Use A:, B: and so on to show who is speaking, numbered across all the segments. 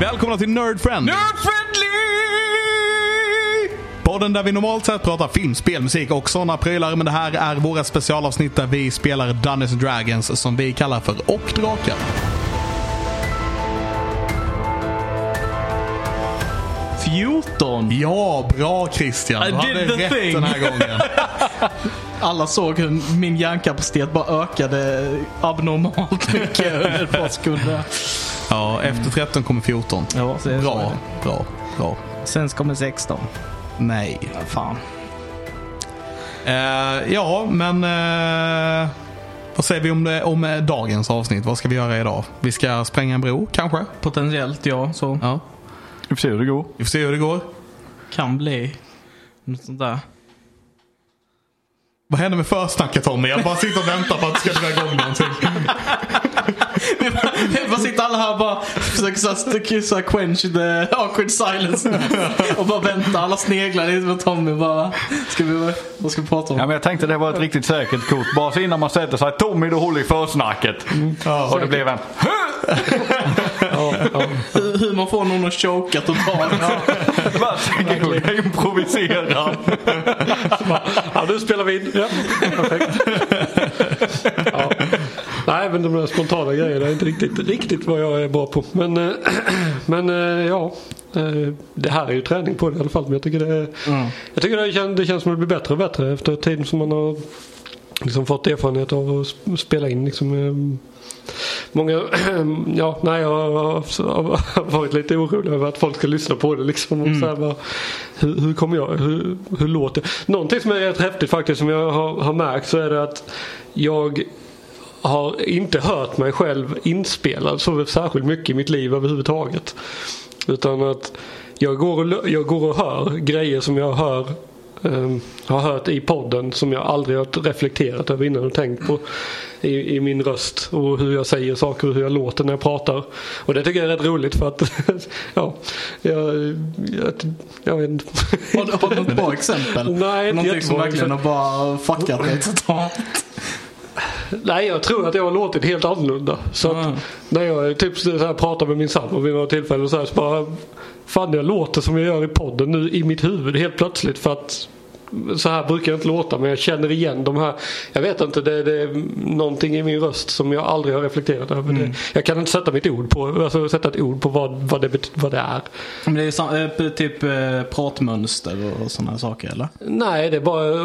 A: Välkomna till Nerd Friend!
B: Nerd friendly!
A: Podden där vi normalt sett pratar film, spel, musik och sådana prylar. Men det här är våra specialavsnitt där vi spelar Dungeons and Dragons som vi kallar för Och Drakar. Ja, bra Christian!
B: I
A: Du hade
B: did the
A: rätt
B: thing.
A: den här gången.
C: Alla såg hur min hjärnkapacitet bara ökade abnormalt mycket under ett par sekunder.
A: Ja, efter 13 kommer 14.
C: Ja, så är det så
A: Bra,
C: är
A: bra, bra.
C: det. Sen kommer 16.
A: Nej.
C: Fan.
A: Eh, ja, men eh, vad säger vi om, det, om eh, dagens avsnitt? Vad ska vi göra idag? Vi ska spränga en bro, kanske?
C: Potentiellt ja, så
A: Ja.
B: Vi får se hur det går.
A: Vi får se hur det går.
C: kan bli. Något sånt där.
A: Vad hände med försnacket Tommy? Jag bara sitter och väntar på att det ska dra igång någonting.
C: Vad sitter alla här och bara försöker så här, st- så här quench the awkward silence. och bara väntar. Alla sneglar lite på Tommy bara. Ska vi, vad ska vi prata om?
B: Ja, men jag tänkte det var ett riktigt säkert kort. Bara så innan man sätter sig. Tommy du håller i försnacket. och det blev en.
C: Hur, hur man får någon att choka totalt.
B: Varsågod, jag improviserar.
D: Ja, nu spelar vi in. Ja, perfekt. Ja. Nej, men de där spontana grejerna är inte riktigt, riktigt vad jag är bra på. Men, eh, men eh, ja, eh, det här är ju träning på det i alla fall. Men jag tycker det, jag tycker det, kän, det känns som att det blir bättre och bättre efter tiden som man har liksom fått erfarenhet av att sp- spela in. Liksom, eh, Många, ja, nej, jag har varit lite orolig över att folk ska lyssna på det. Liksom, och så här, bara, hur, hur kommer jag, hur, hur låter det? Någonting som är rätt häftigt faktiskt som jag har, har märkt så är det att jag har inte hört mig själv inspelad så särskilt mycket i mitt liv överhuvudtaget. Utan att jag går och, lö- jag går och hör grejer som jag hör ehm, har hört i podden som jag aldrig har reflekterat över innan och tänkt på i, i min röst och hur jag säger saker och hur jag låter när jag pratar. Och det tycker jag är rätt roligt för att ja, jag, jag, jag vet inte.
C: Har du, har du något bra exempel?
D: Nej, inte
C: Någonting som
D: jättebra
C: verkligen har bara fuckat dig totalt.
D: Nej, jag tror att jag har låtit helt annorlunda. Så att
C: Ah.
D: när jag typ så här, pratar med min sambo vid några tillfällen så, här, så bara Fan, jag låter som jag gör i podden nu i mitt huvud helt plötsligt för att så här brukar jag inte låta men jag känner igen de här. Jag vet inte, det, det är någonting i min röst som jag aldrig har reflekterat över.
A: Mm.
D: Det, jag kan inte sätta mitt ord på, alltså sätta ett ord på vad, vad, det, bet- vad det är.
C: Men det är ju sam- eh, p- typ eh, pratmönster och- och sådana här saker eller?
D: Nej, det är bara eh,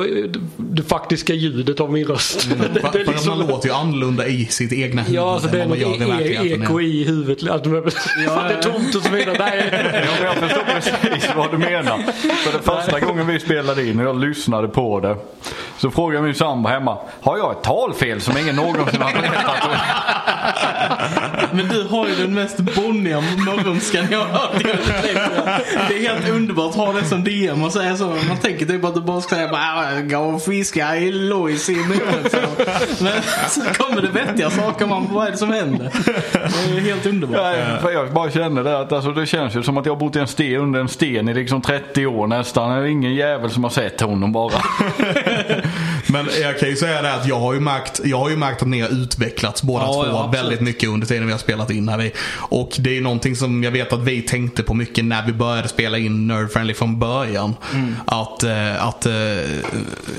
D: det faktiska ljudet av min röst. Det- det är
A: För, för
D: liksom-
A: Mm. man låter ju annorlunda i sitt egna huvud
D: Ja, alltså det är
A: än
D: något
A: vad man gör i
D: e-
A: verkligheten.
D: eko i huvudet. Att de är,
C: ja.
D: det är tomt och så vidare. Nej.
B: Ja, men Jag förstår precis vad du menar. För det första gången vi spelade in och jag lyssnade på det. Så frågade min sambo hemma. Har jag ett talfel som ingen någonsin har berättat om?
C: Men du har ju den mest bonniga morgonskan jag har hört i hela mitt liv. Det är helt underbart att ha det som DM och säga så. Man tänker typ att du bara ska säga bara "Jag går och fiskar i Lois i munnen. så. Men så kommer det vettiga saker. Man bara, vad är det som händer? Det är helt underbart.
B: Nej, för jag bara känner det att alltså, det känns ju som att jag har bott i en sten under en sten i liksom 30 år nästan. Det är ingen jävel som har sett honom bara.
A: Men jag kan ju säga det att jag har ju märkt, jag har ju märkt att ni har utvecklats båda
C: Ja,
A: två
C: ja, absolut.
A: väldigt mycket under tiden vi har spelat in. Här. Vi- Och det är ju någonting som jag vet att vi tänkte på mycket när vi började spela in Nerd Friendly från början.
C: Mm.
A: Att, eh, att eh,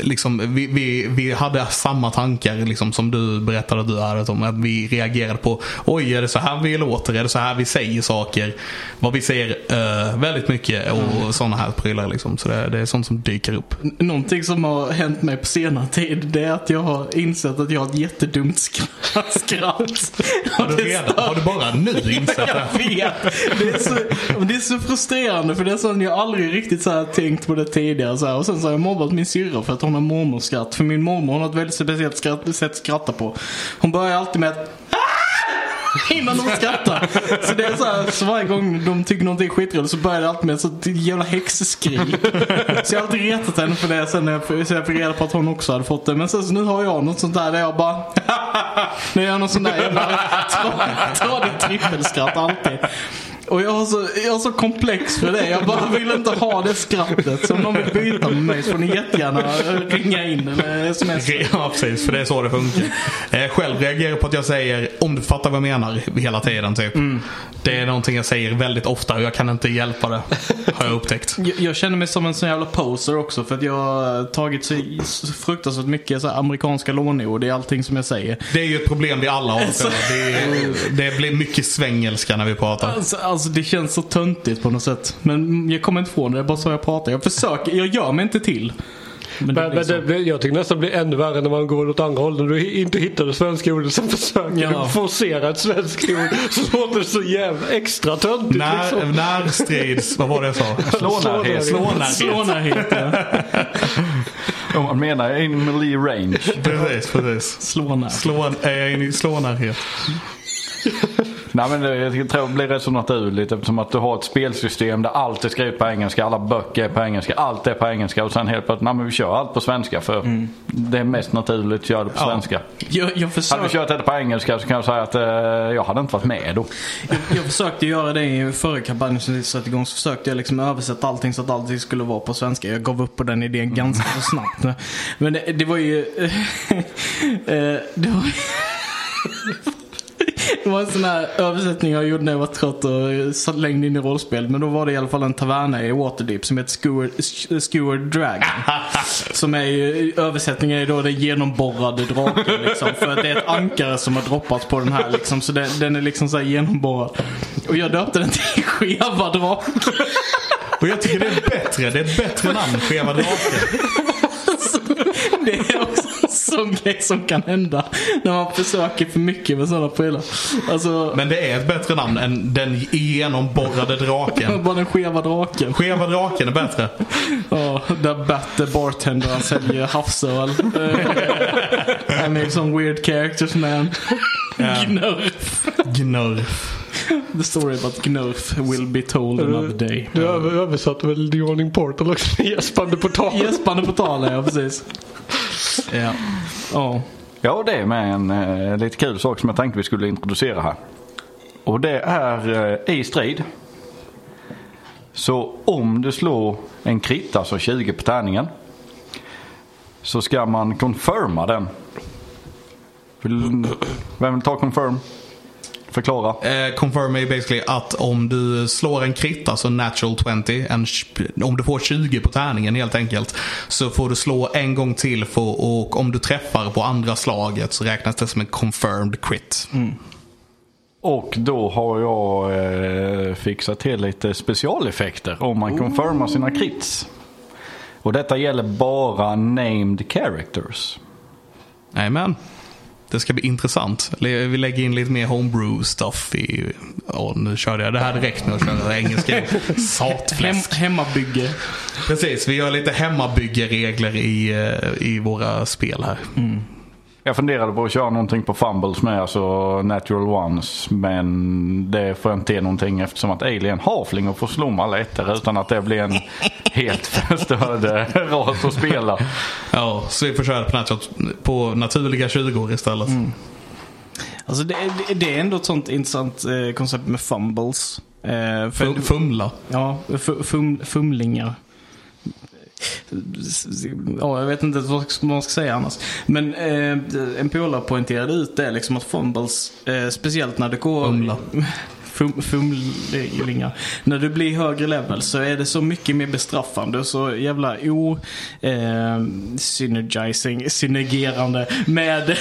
A: liksom, vi, vi, vi hade samma tankar liksom, som du berättade att du hade om Att vi reagerade på, oj är det så här vi låter? Är det så här vi säger saker? Vad vi säger eh, väldigt mycket och
C: Mm.
A: sådana här prylar. Liksom. Så det, det är sånt som dyker upp.
C: N- Någonting som har hänt mig på senare tid det är att jag har insett att jag har ett jättedumt skra- skratt.
A: Har
C: Och
A: du,
C: det
A: redan, har du bara nu insett det?
C: Jag vet. Det är, så, men det är så frustrerande för det är så jag aldrig riktigt så här tänkt på det tidigare. Så här. Och sen så har jag mobbat min syrra för att hon har mormorskratt. För min mormor hon har ett väldigt speciellt skratt, sätt att skratta på. Hon börjar alltid med att "Ah!" Innan de skrattar. Så det är så, här, så varje gång de tycker någonting är skitroligt så börjar det alltid med ett sånt jävla häxskrik. Så jag har alltid retat henne för det sen när jag, sen jag fick reda på att hon också hade fått det. Men sen så nu har jag något sånt där där jag bara Nu är jag någon sån där jävla tra- tradigt trippelskratt alltid. Och jag har, så, jag har så komplex för det. Jag bara vill inte ha det skrattet. Så om någon vill byta med mig så får ni jättegärna eh, ringa in eller sms.
A: Ja precis, för det är så det funkar. Eh, själv reagerar jag på att jag säger om du fattar vad jag menar hela tiden typ.
C: Mm.
A: Det är någonting jag säger väldigt ofta och jag kan inte hjälpa det. Har jag upptäckt.
C: Jag, jag känner mig som en sån jävla poser också för att jag har tagit så så fruktansvärt mycket så här amerikanska låneord i allting som jag säger.
A: Det är ju ett problem vi alla har. tror jag. Det, är- det blir mycket svängelska när vi pratar.
C: Alltså, alltså det känns så töntigt på något sätt. Men jag kommer inte ifrån det, det är bara så jag pratar. Jag försöker, jag gör mig inte till. Men liksom. det
D: Men,
C: blir
D: men
C: så.
D: det, blir- jag tycker nästan det blir ännu värre när man går åt andra hållet. När du hi- inte hittar det svenska ordet så försöker
C: Ja.
D: du forcera ett svenskt ord. Så låter det så jävla extra töntigt
A: När,
D: liksom.
A: när strids, vad var det jag sa?
B: Slånärhet.
C: Slå närhet. ja.
B: Om man menar in melee range.
A: Precis, precis.
C: Slå närhet.
A: Slå, är jag inne i slånärhet?
B: Nej men det, jag tror det blir rätt så naturligt eftersom att du har ett spelsystem där allt är skrivet på engelska, alla böcker är på engelska, allt är på engelska och sen helt plötsligt, nej men vi kör allt på svenska för det är mest naturligt att köra det på svenska.
C: Jag, jag,
B: Hade vi
C: försökte,
B: kört det på engelska så kan jag säga att eh, jag hade inte varit med då.
C: jag, jag försökte göra det i förra kampanjen som vi satte igång. Så försökte jag liksom översätta allting så att allting skulle vara på svenska. Jag gav upp på den idén ganska så snabbt. Men det, det var ju... eh, det var Det var en sån här översättning jag gjorde när jag var trött och satt längd in i rollspel. Men då var det i alla fall en taverna i Waterdeep som heter Skewer, Sk- Skewer Drag. som är ju, översättningen är då den genomborrade draken liksom. För att det är ett ankare som har droppats på den här liksom. Så den, den är liksom så här genomborrad. Och jag döpte den till Skeva Drake.
A: Och jag tycker det är bättre. Det är ett bättre namn, Skeva Drake.
C: Det är också en sån grej som kan hända. När man försöker för mycket med sådana prylar. Alltså,
A: Men det är ett bättre namn än den genomborrade draken.
C: bara den skeva draken.
A: Skeva draken är bättre.
C: Ja, där Bat the bartender han säljer havsöl. Eh, Han är som weird characters man. Gnurf.
A: Gnurf.
C: The story about Gnurf will be told another day.
D: Du över- översatte väl The Ordning Portal också med gäspande portal?
C: Gäspande på tal är jag precis.
A: Ja.
C: Ja.
B: Ja och det är med en eh, lite kul sak som jag tänkte vi skulle introducera här. Och det är eh, i strid. Så om du slår en krit, alltså 20 på tärningen. Så ska man confirma den. Vill- Vem vill ta confirm? Förklara.
A: Eh, confirm är basically att om du slår en krit, alltså natural 20, en, sh- om du får 20 på tärningen helt enkelt. Så får du slå en gång till för, och om du träffar på andra slaget så räknas det som en confirmed crit.
B: Och då har jag eh, fixat till lite specialeffekter om man confirmar sina crits. Och detta gäller bara named characters.
A: Jajamän. Det ska bli intressant. Le- Vi lägger in lite mer homebrew stuff i... Åh, nu körde jag det här direkt nu. Jag körde engelska.
C: Hem,
A: Satfläsk.
C: hemmabygge.
A: Precis, vi gör lite hemmabyggeregler i, eh, i våra spel här.
B: Jag funderade på att köra någonting på Fumbles med, alltså natural ones. Men det får jag inte till någonting eftersom att Alien Halfling och får slå med alla ettor utan att det blir en helt förstörd eh, ras att spela.
A: Ja, så vi får köra på, natu på naturliga 20 istället.
C: Alltså det, är- det, det är ändå ett sånt intressant eh, koncept med fumbles. Eh, för,
A: Fum- Fumla.
C: Ja, fu- fum, fumlingar. S- s- Ja, jag vet inte vad vad man ska säga annars. Men eh, en polare poängterade ut det liksom att fumbles, eh, speciellt när det går...
A: Fumla.
C: Fum, fumlingar. När du blir högre level så är det så mycket mer bestraffande och så jävla o... Eh, synergizing, synergerande med...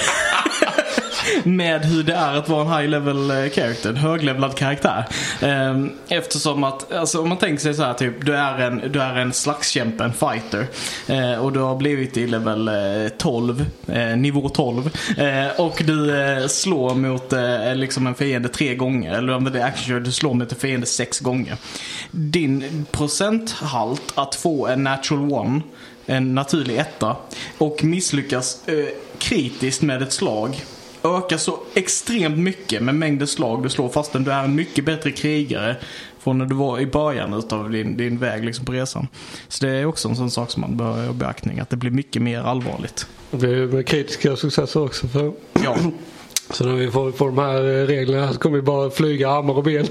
C: med hur det är att vara en high level eh, character, en höglevlad karaktär. Ehm, Eftersom att, alltså om man tänker sig så här typ, du är en, du är en slagskämpe, en fighter. Eh, Och du har blivit i level eh, 12, eh, nivå 12. Eh, Och du eh, slår mot eh, liksom en fiende tre gånger, eller om det är action, du slår mot en fiende sex gånger. Din procenthalt att få en natural one en naturlig etta och misslyckas eh, kritiskt med ett slag ökar så extremt mycket med mängden slag du slår fastän du är en mycket bättre krigare från när du var i början utav din, din väg liksom på resan. Så det är också en sån sak som man bör ha i beaktning, att det blir mycket mer allvarligt.
D: Det är med kritiska successer också. För
C: Ja.
D: Så när vi får, får de här eh, reglerna så kommer vi bara flyga armar och ben.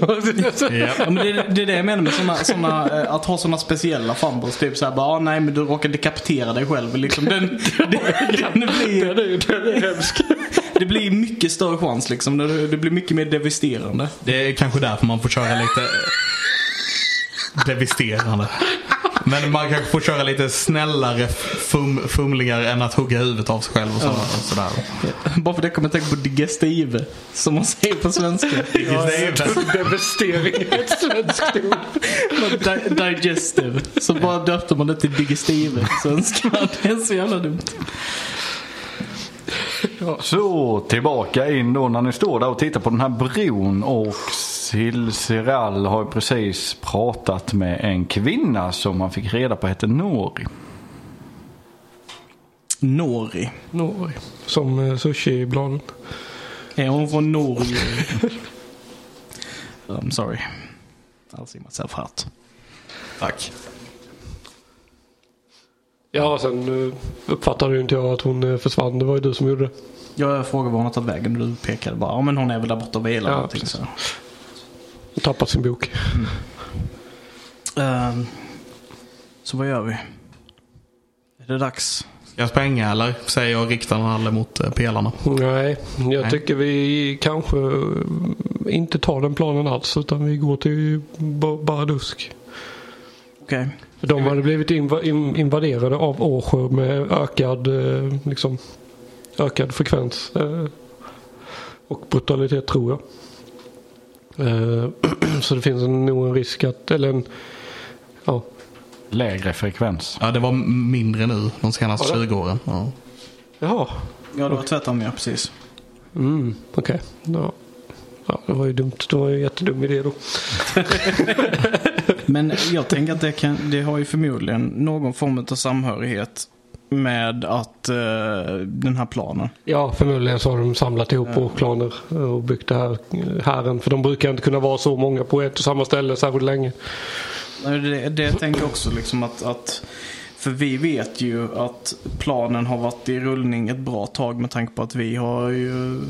C: Ja, men det, det är det jag menar med såna, såna, eh, att ha såna speciella fumbles. Typ såhär bara, ah, nej men du råkar dekapitera dig själv. Liksom, den, den, den blir,
D: Den är ju den är hemsk.
C: det blir mycket större chans liksom. Det, det blir mycket mer devasterande.
A: Det är kanske därför man får köra lite devisterande. Men man kanske får köra lite snällare fum, fumlingar än att hugga huvudet av sig själv och, så, och sådär.
C: Bara för det kommer jag tänka på digestive. Som man säger på svenska.
D: Devastering är ett svenskt ord.
C: Di- digestive. Så bara döpte man det till digestive. Svenska. Det är så jävla dumt.
B: Så tillbaka in då när ni står där och tittar på den här bron och Silsiral har ju precis pratat med en kvinna som man fick reda på hette Nori.
C: Nori.
D: Norge. Som eh, sushibladen.
C: Är hon från Norge? I'm Um, sorry. Alltså, I'll see myself out.
A: Tack.
D: Ja, sen eh, uppfattade ju inte jag att hon eh, försvann. Det var ju du som gjorde det.
C: Jag frågade var hon har tagit vägen och du pekade bara, ja men hon är väl där borta och vilar.
D: Ja,
C: någonting",
D: precis.
C: så.
D: Hon tappat sin bok.
C: Ehm, så vad gör vi? Är det dags?
A: Ska jag spränga eller? Säger jag och riktar en alle mot eh, pelarna.
D: Nej, jag
A: Nej.
D: tycker vi kanske eh, inte tar den planen alls. Utan vi går till Ba- Baradusk.
C: Okej.
D: För De hade blivit inva- in- invaderade av Åsjö med ökad, eh, liksom, ökad frekvens. eh, Och brutalitet tror jag. Eh, Så det finns en- nog en risk att, eller en, ja,
B: Lägre frekvens.
A: Ja, det var m- mindre nu de senaste
D: Har det?
A: 20 åren. Ja.
D: jaha,
C: Ja det var tvärtom ja, precis.
D: mm, okej. Ja. ja, det var ju dumt. Det var ju en jättedum idé då.
C: Men jag tänker att det, kan, det har ju förmodligen någon form av samhörighet med att eh, den här planen.
D: Ja, förmodligen så har de samlat ihop åklaner eh, och byggt det här eh, hären. För de brukar inte kunna vara så många på ett och samma ställe särskilt länge.
C: Nej, Det, det jag tänker också liksom att, att för vi vet ju att planen har varit i rullning ett bra tag med tanke på att vi har ju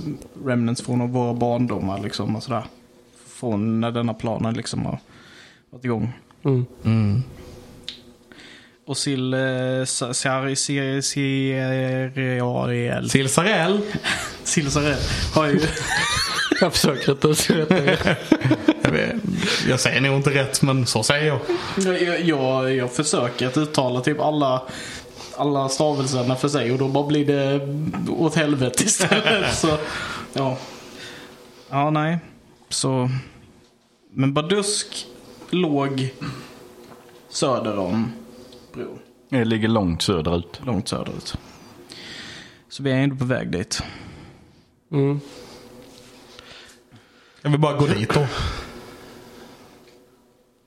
C: remnants från våra barndomar liksom och sådär. Från när denna planen liksom har varit igång.
D: Mm.
A: Mm.
C: Och Sil... eh, Silsarel.
A: Silsarell.
C: Silsarel har ju...
D: Jag försöker inte ens rätta er.
A: Jag vet- Jag säger nog inte rätt men så säger jag.
C: Jag- Jag, jag, jag försöker att uttala typ alla, alla stavelserna för sig och då bara blir det åt helvete istället. Så, ja. ja, nej. Så. Men Badusk låg söder om bron.
B: Det ligger långt söderut.
C: Långt söderut. Så vi är ändå på väg dit.
D: Mm.
A: Jag vill bara gå dit då.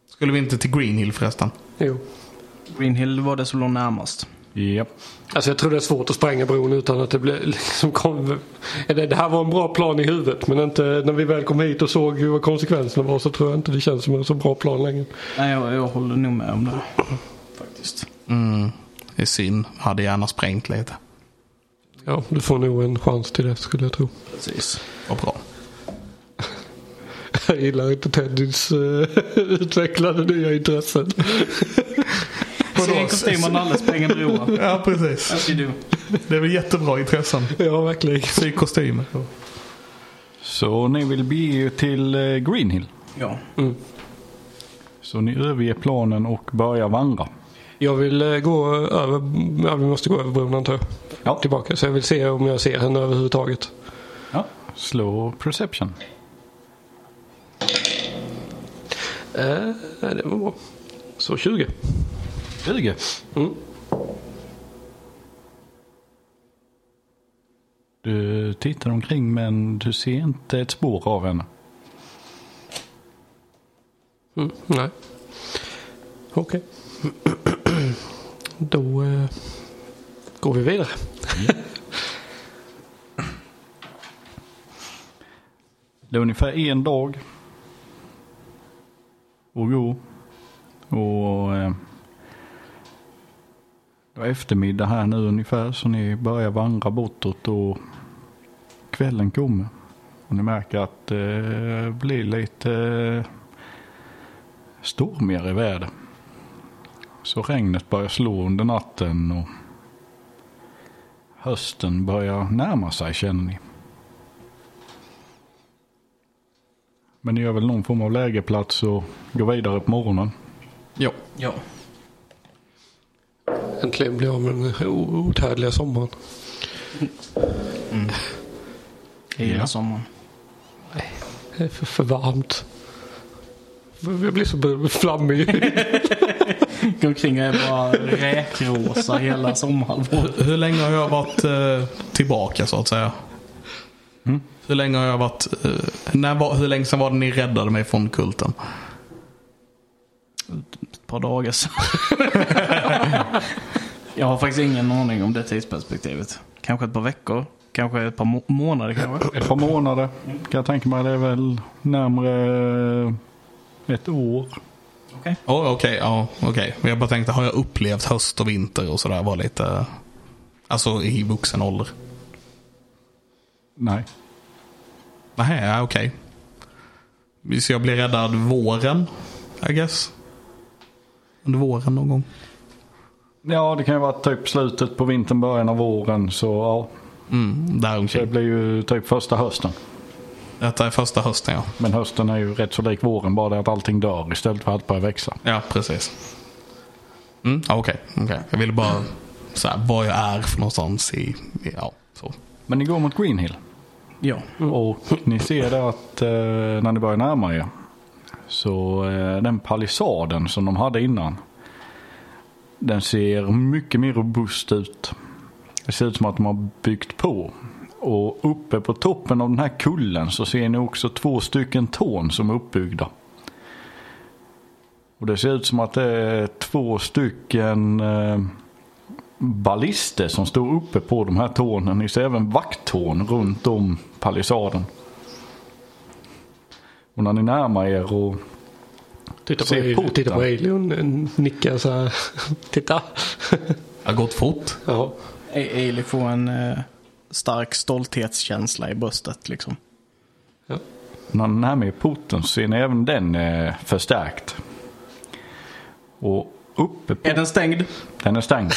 A: Skulle vi inte till Greenhill förresten?
D: Jo.
C: Greenhill var det som låg närmast.
B: Japp.
D: Alltså jag tror det är svårt att spränga bron utan att det blir liksom kom... Eller, Det här var en bra plan i huvudet men inte när vi väl kom hit och såg hur konsekvenserna var så tror jag inte det känns som en så bra plan längre.
C: Nej, jag, jag håller nog med om det. Faktiskt.
A: Mm. Det är synd. Hade gärna sprängt lite.
D: Ja, du får nog en chans till det skulle jag tro.
C: Precis.
A: Vad bra.
D: Jag gillar inte Teddys eh, utvecklade nya intressen.
C: Sen kostym och nalle spränger broar.
A: Ja precis.
C: Okej du.
A: Det är väl jättebra intressen.
D: Ja, verkligen.
A: Sy kostymer.
B: Så ni vill bege er till eh, Greenhill.
C: Ja.
B: Så ni överger planen och börjar vandra.
D: Jag vill eh, gå över, ja, vi måste gå över bron antar jag.
B: Ja.
D: Tillbaka, så jag vill se om jag ser henne överhuvudtaget.
B: Ja. Slå perception.
D: Eh, det var bra. Så 20.
B: 20. Du tittar omkring men du ser inte ett spår av henne.
D: Mm, nej. Okej. Då eh, går vi vidare.
B: Det är ungefär en dag att gå. Och eh, det var eftermiddag här nu ungefär så ni börjar vandra bortåt och kvällen kommer. Och ni märker att det blir lite eh, stormigare väder. Så regnet börjar slå under natten och hösten börjar närma sig känner ni. Men ni gör väl någon form av lägerplats och går vidare på morgonen.
A: Ja.
C: Ja.
D: Äntligen blir jag av med den o- outhärdliga sommaren.
C: Jag gillar
B: Ja.
C: sommaren.
D: Det är Eh, för, för varmt. Jag blir så be- flammig.
C: Går omkring och är bara räkrosa hela sommarhalvåret.
A: Hur, hur länge har jag varit eh, tillbaka så att säga? Hur länge har jag varit... Eh, när var, hur länge sedan var det ni räddade mig från kulten?
C: Ett par dagar sedan. jag har faktiskt ingen aning om det tidsperspektivet. Kanske ett par veckor. Kanske ett par må- månader kanske.
B: Ett par månader kan jag tänka mig. Det är väl närmare ett år.
A: Oh, okej, ja okej. Men Jag bara tänkte, har jag upplevt höst och vinter och sådär? Var lite... Alltså i vuxen ålder.
B: Nej.
A: Nej, ja, okej. Så jag blir räddad våren, I guess. Under våren någon gång.
B: Ja, det kan ju vara typ slutet på vintern, början av våren. Så ja,
A: Mm,
B: det
A: däromkring.
B: blir ju typ första hösten.
A: Detta är första hösten ja.
B: Men hösten är ju rätt så lik våren, bara det att allting dör istället för att allt börjar växa.
A: Ja, precis. Mm, ja, okej. okej. Jag ville bara så här, vad jag är för någonstans i... i- Ja, så.
B: Men ni går mot Greenhill.
C: Ja.
B: Och ni ser det att eh, när ni börjar närma er. Så eh, den palissaden som de hade innan. Den ser mycket mer robust ut. Det ser ut som att de har byggt på. Och uppe på toppen av den här kullen så ser ni också två stycken torn som är uppbyggda. Och det ser ut som att det är två stycken eh, ballister som står uppe på de här tornen. Ni ser även vakttorn runt om palissaden. Och när ni närmar er och
D: Titta på,
B: Se
D: Alien-
B: porten.
D: titta på Alien, en- nickar så här. Titta.
A: Det har gått fort.
D: Ja.
C: A- Ailey får en eh, stark stolthetskänsla i bröstet liksom.
B: när ni närmar er porten så ser ni även den eh, förstärkt. Och uppe på...
C: Är den stängd?
B: Den är stängd.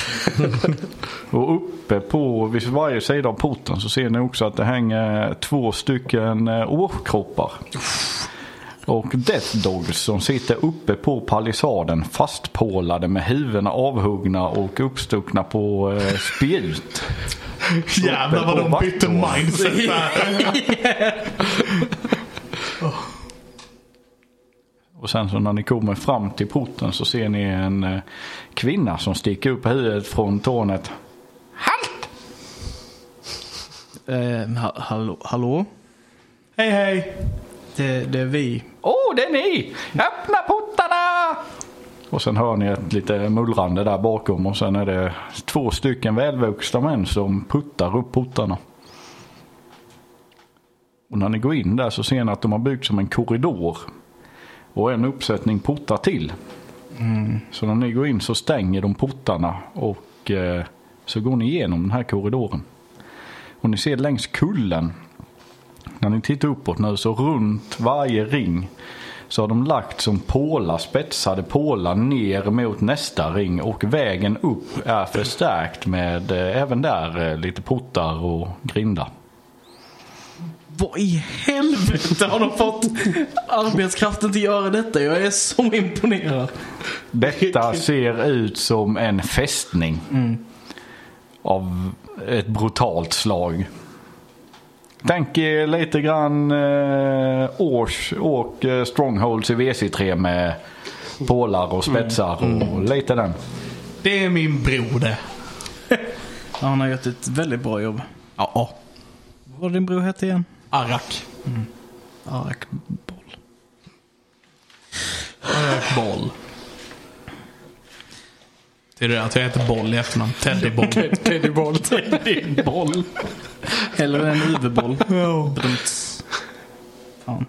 B: och uppe på vid varje sida av porten så ser ni också att det hänger två stycken eh, årkroppar. Och Death Dogs som sitter uppe på palissaden fastpålade med huvudena avhuggna och uppstuckna på eh, spjut.
A: Jävlar vad de bytte mindset där.
B: Och sen så när ni kommer fram till porten så ser ni en eh, kvinna som sticker upp huvudet från tornet.
C: Eh, ha- hallå? hallå?
A: Hej hej.
C: Det, det är vi.
B: Åh, oh, det är ni! Öppna portarna! Och sen hör ni ett lite mullrande där bakom och sen är det två stycken välvuxna män som puttar upp portarna. Och när ni går in där så ser ni att de har byggt som en korridor. Och en uppsättning portar till. Så när ni går in så stänger de portarna och eh, så går ni igenom den här korridoren. Och ni ser längs kullen när ni tittar uppåt nu så runt varje ring så har de lagt som pålar, spetsade pålar ner mot nästa ring och vägen upp är förstärkt med eh, även där eh, lite portar och grindar.
C: Vad i helvete har de fått arbetskraften till att göra detta? Jag är så imponerad.
B: Detta ser ut som en fästning av ett brutalt slag. Tänk er lite grann eh, års och eh, strongholds i VC3 med pålar och spetsar och lite den.
A: Det är min bror det.
C: Ja, han har gjort ett väldigt bra jobb.
A: Ja, ja.
C: Vad var din bror hette igen?
A: Arak.
C: Arkboll.
A: Arak Boll. Det är det att jag heter Boll i efternamn. Teddy Boll.
D: Teddyboll.
C: Din boll. Eller en huvudboll. Brumts. Fan.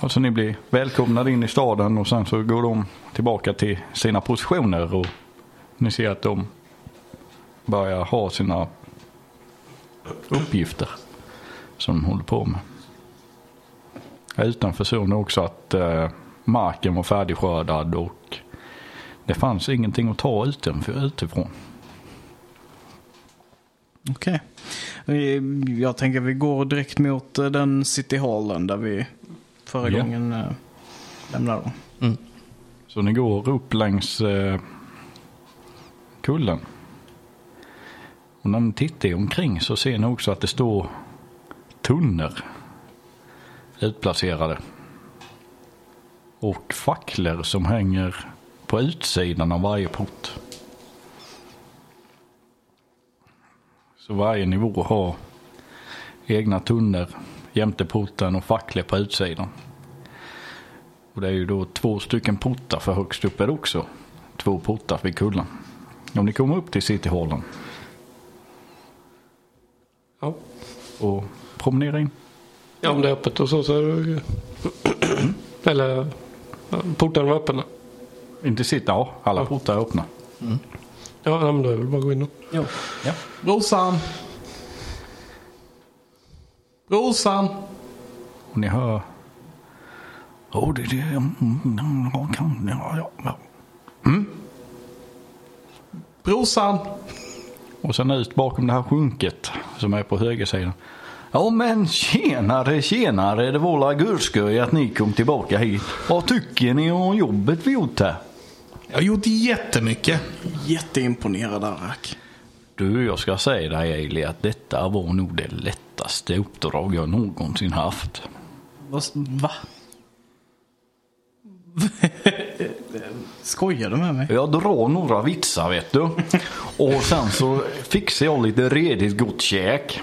B: Alltså ni blir välkomnade in i staden och sen så går de tillbaka till sina positioner och ni ser att de börjar ha sina uppgifter. som de håller på med. Jag är utanför zonen också att eh, marken var färdigskördad och det fanns ingenting att ta utanför, utifrån.
C: Okej. Eh, Jag tänker vi går direkt mot eh, den City Hallen där vi förra
B: Ja.
C: gången eh, lämnade dem.
B: Så ni går upp längs eh, kullen. Och när ni tittar er omkring så ser ni också att det står tunnor utplacerade. Och facklor som hänger på utsidan av varje port. Så varje nivå har egna tunnor jämte porten och facklor på utsidan. Och det är ju då två stycken portar för högst upp är det också. Två portar vid kullen. Om ni kommer upp till Cityhallen
D: Ja.
B: och promenerar in.
D: Ja, om det är öppet och så. så är det... Eller ja, portarna var öppna.
B: Inte City, ja alla portar är öppna.
D: Ja, nej, men då är det väl bara att gå in och...
C: Jo.
B: Ja.
C: Rosan! Rosan!
B: Och ni hör... Åh, det är det... mm, mm, ja, kan- ja, ja, ja.
C: Rosan!
B: Och sen ut bakom det här sjunket som är på högersidan. Ja men tjenare tjenare, det var la gurskoj att ni kom tillbaka hit. Vad tycker ni om jobbet vi gjort här?
A: Jag har gjort jättemycket.
C: Jätteimponerad Arak.
B: Du, jag ska säga dig Eli att detta var nog det lättaste uppdrag jag någonsin haft.
C: Vad- Va? Skojar du med mig?
B: Jag drar några vitsar vet du. Och sen så fixar jag lite redigt gott käk.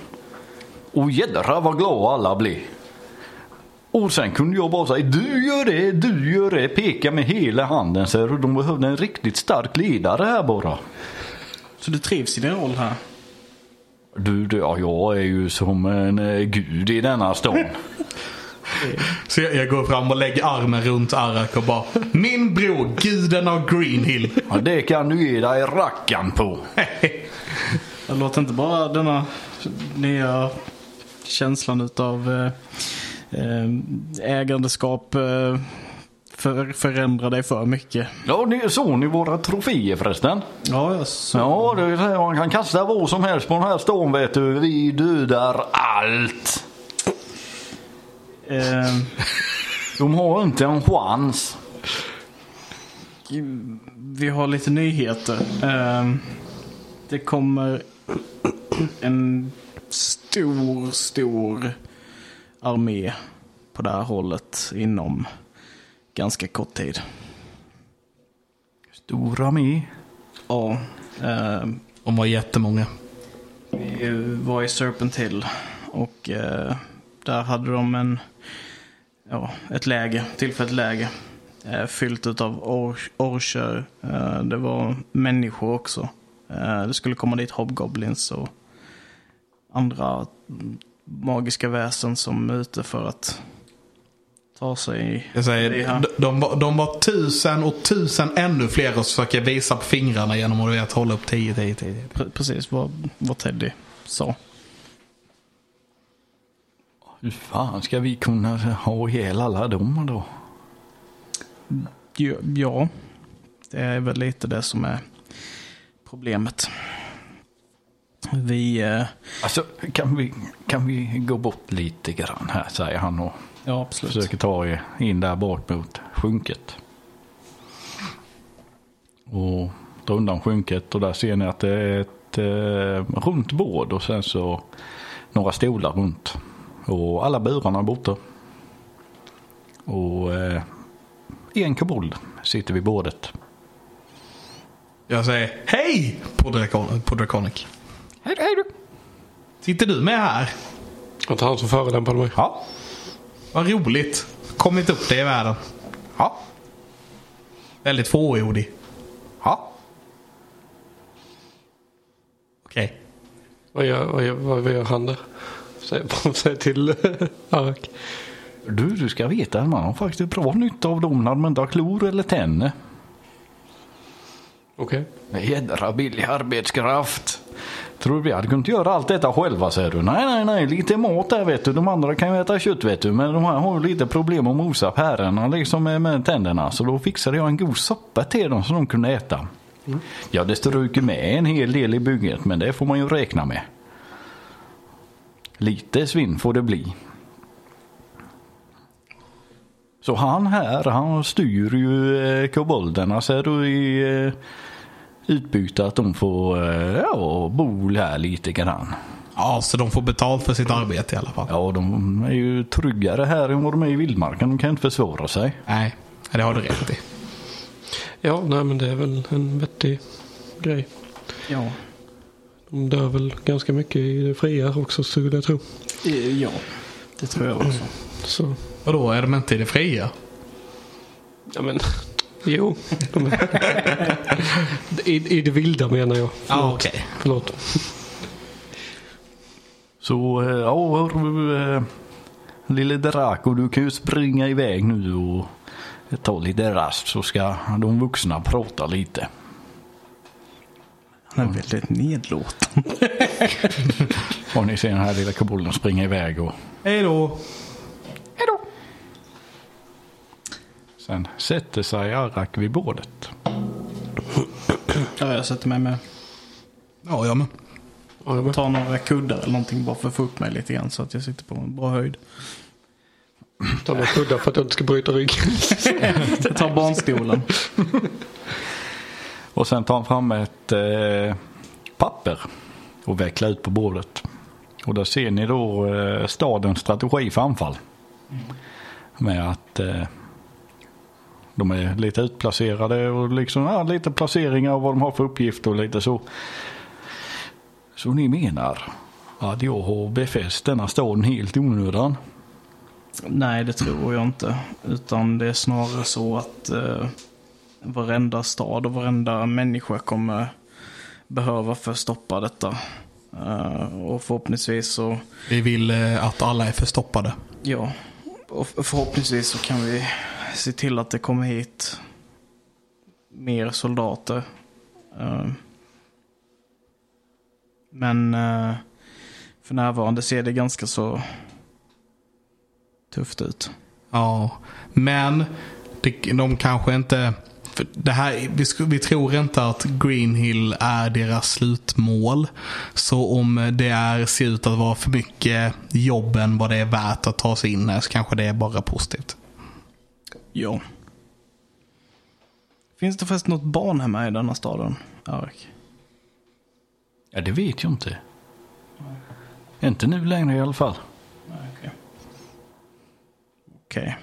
B: Och jädrar vad glada alla blev. Och sen kunde jag bara säga du gör det, du gör det. Peka med hela handen. Så de behövde en riktigt stark ledare här bara.
C: Så du trivs i din roll här?
B: Du, du ja, jag är ju som en eh, gud i denna stan.
A: Så jag, jag går fram och lägger armen runt Arak och bara Min bror, guden av Greenhill.
B: Ja, det kan du ge dig rackan på.
C: Jag låter inte bara denna nya känslan utav eh, eh, ägandeskap eh, för, förändra dig för mycket.
B: Ja, ni såg ni våra troféer förresten?
C: Ja, jag så.
B: Ja, det vill säga man kan kasta vad som helst på den här stan vet du. Vi dödar allt.
C: Eh,
B: De har inte en chans.
C: vi har lite nyheter. Eh, det kommer en stor, stor armé på det här hållet inom ganska kort tid.
B: Stora med.
C: Ja, eh,
A: De var jättemånga.
C: eh, var i Serpent Hill. Och eh, där hade de en, ja, ett läge, tillfälligt läge. Eh, fyllt av or- orcher. Eh, det var människor också. Eh, det skulle komma dit hobgoblins och andra magiska väsen som är ute för att ta sig
A: Jag säger,
C: Det är han.
A: de, de, var, de var tusen och tusen ännu fler och försöker visa på fingrarna genom att du vet, hålla upp 10, 10, 10.
C: pre- precis vad, vad Teddy sa.
B: Hur fan ska vi kunna ha ihjäl alla dem då?
C: Jo, Ja, det är väl lite det som är problemet. Vi, eh,
B: Alltså, kan vi, kan vi gå bort lite grann här säger han och
C: ja absolut.
B: försöker ta er in där bak mot sjunket. Och drar undan sjunket och där ser ni att det är ett eh, runt bord och sen så några stolar runt. Och alla burarna är borta. Och eh, en kobold sitter vid bordet.
A: Jag säger hej på, Dracon, på Draconic.
B: Hej, hej du!
A: Sitter du med här?
D: Att han som förolämpade mig.
B: Ja,
A: Vad roligt. Kommit upp dig i världen.
B: ja,
A: Väldigt fåordig.
B: ja.
A: Okej.
D: Vad gör, vad gör, vad gör han där? Säger säg till Arak.
B: Du, du ska veta att man har faktiskt bra nytta av dem när de inte har klor eller tänder.
D: Okej.
B: Jädra billig arbetskraft. Tror du vi hade kunnat göra allt detta själva säger du? Nej, nej, nej, lite mat där vet du. De andra kan ju äta kött vet du. Men de här har ju lite problem att mosa pärorna liksom med, med tänderna. Så då fixade jag en god soppa till dem som de kunde äta. Ja, det strök ju med en hel del i bygget, men det får man ju räkna med. Lite svinn får det bli. Så han här, han styr ju eh, kobolderna ser du i eh, utbyte att de får eh, ja, bo här lite grann.
A: Ja, så de får betalt för sitt arbete i alla fall.
B: Ja, de är ju tryggare här än vad de är i vildmarken. De kan inte försvara sig.
A: Nej, det har du rätt i.
D: Ja, nej men det är väl en vettig grej.
C: Ja.
D: De dör väl ganska mycket i det fria också skulle jag tro.
C: Eh, Ja, det tror jag också.
D: Så,
A: Vadå, är de inte i det fria?
D: ja men. Jo. De är... I, I det vilda menar jag.
A: Ja, okej.
D: Förlåt.
B: Så eh, ja, hörru, eh, lille Draco, du kan ju springa iväg nu och ta lite rast så ska de vuxna prata lite.
C: Han är väldigt nedlåten.
B: Och ni ser den här lilla kobolden springa iväg och
A: Hej då.
B: sen sätter sig Arak vid bordet.
C: Ja, jag sätter mig med.
A: Ja, jag med.
D: Ja, jag med.
C: Tar några kuddar eller någonting bara för att få upp mig lite grann så att jag sitter på en bra höjd.
D: Ta några kuddar för att jag inte ska bryta ryggen.
C: Jag tar barnstolen.
B: Och sen tar han fram ett eh, papper och vecklar ut på bordet. Och där ser ni då eh, stadens strategi för anfall. Med att eh, de är lite utplacerade och liksom ja, lite placeringar och vad de har för uppgifter och lite så. Så ni menar att jag har befäst denna staden helt i onödan?
C: Nej, det tror jag inte. Utan det är snarare så att eh, varenda stad och varenda människa kommer behöva förstoppa detta. Eh, och förhoppningsvis så,
A: Vi vill eh, att alla är förstoppade.
C: ja, och förhoppningsvis så kan vi se till att det kommer hit mer soldater. Eh, men eh, för närvarande ser det ganska så tufft ut.
A: Ja, men det, de kanske inte... För det här, vi, sku- vi tror inte att Greenhill är deras slutmål. Så om det är, ser ut att vara för mycket jobb än vad det är värt att ta sig in här så kanske det är bara positivt.
C: Ja. Finns det förresten något barn hemma i denna staden, Arik?
B: Ja, det vet jag inte. Inte nu längre i alla fall.
C: Okej. Okej.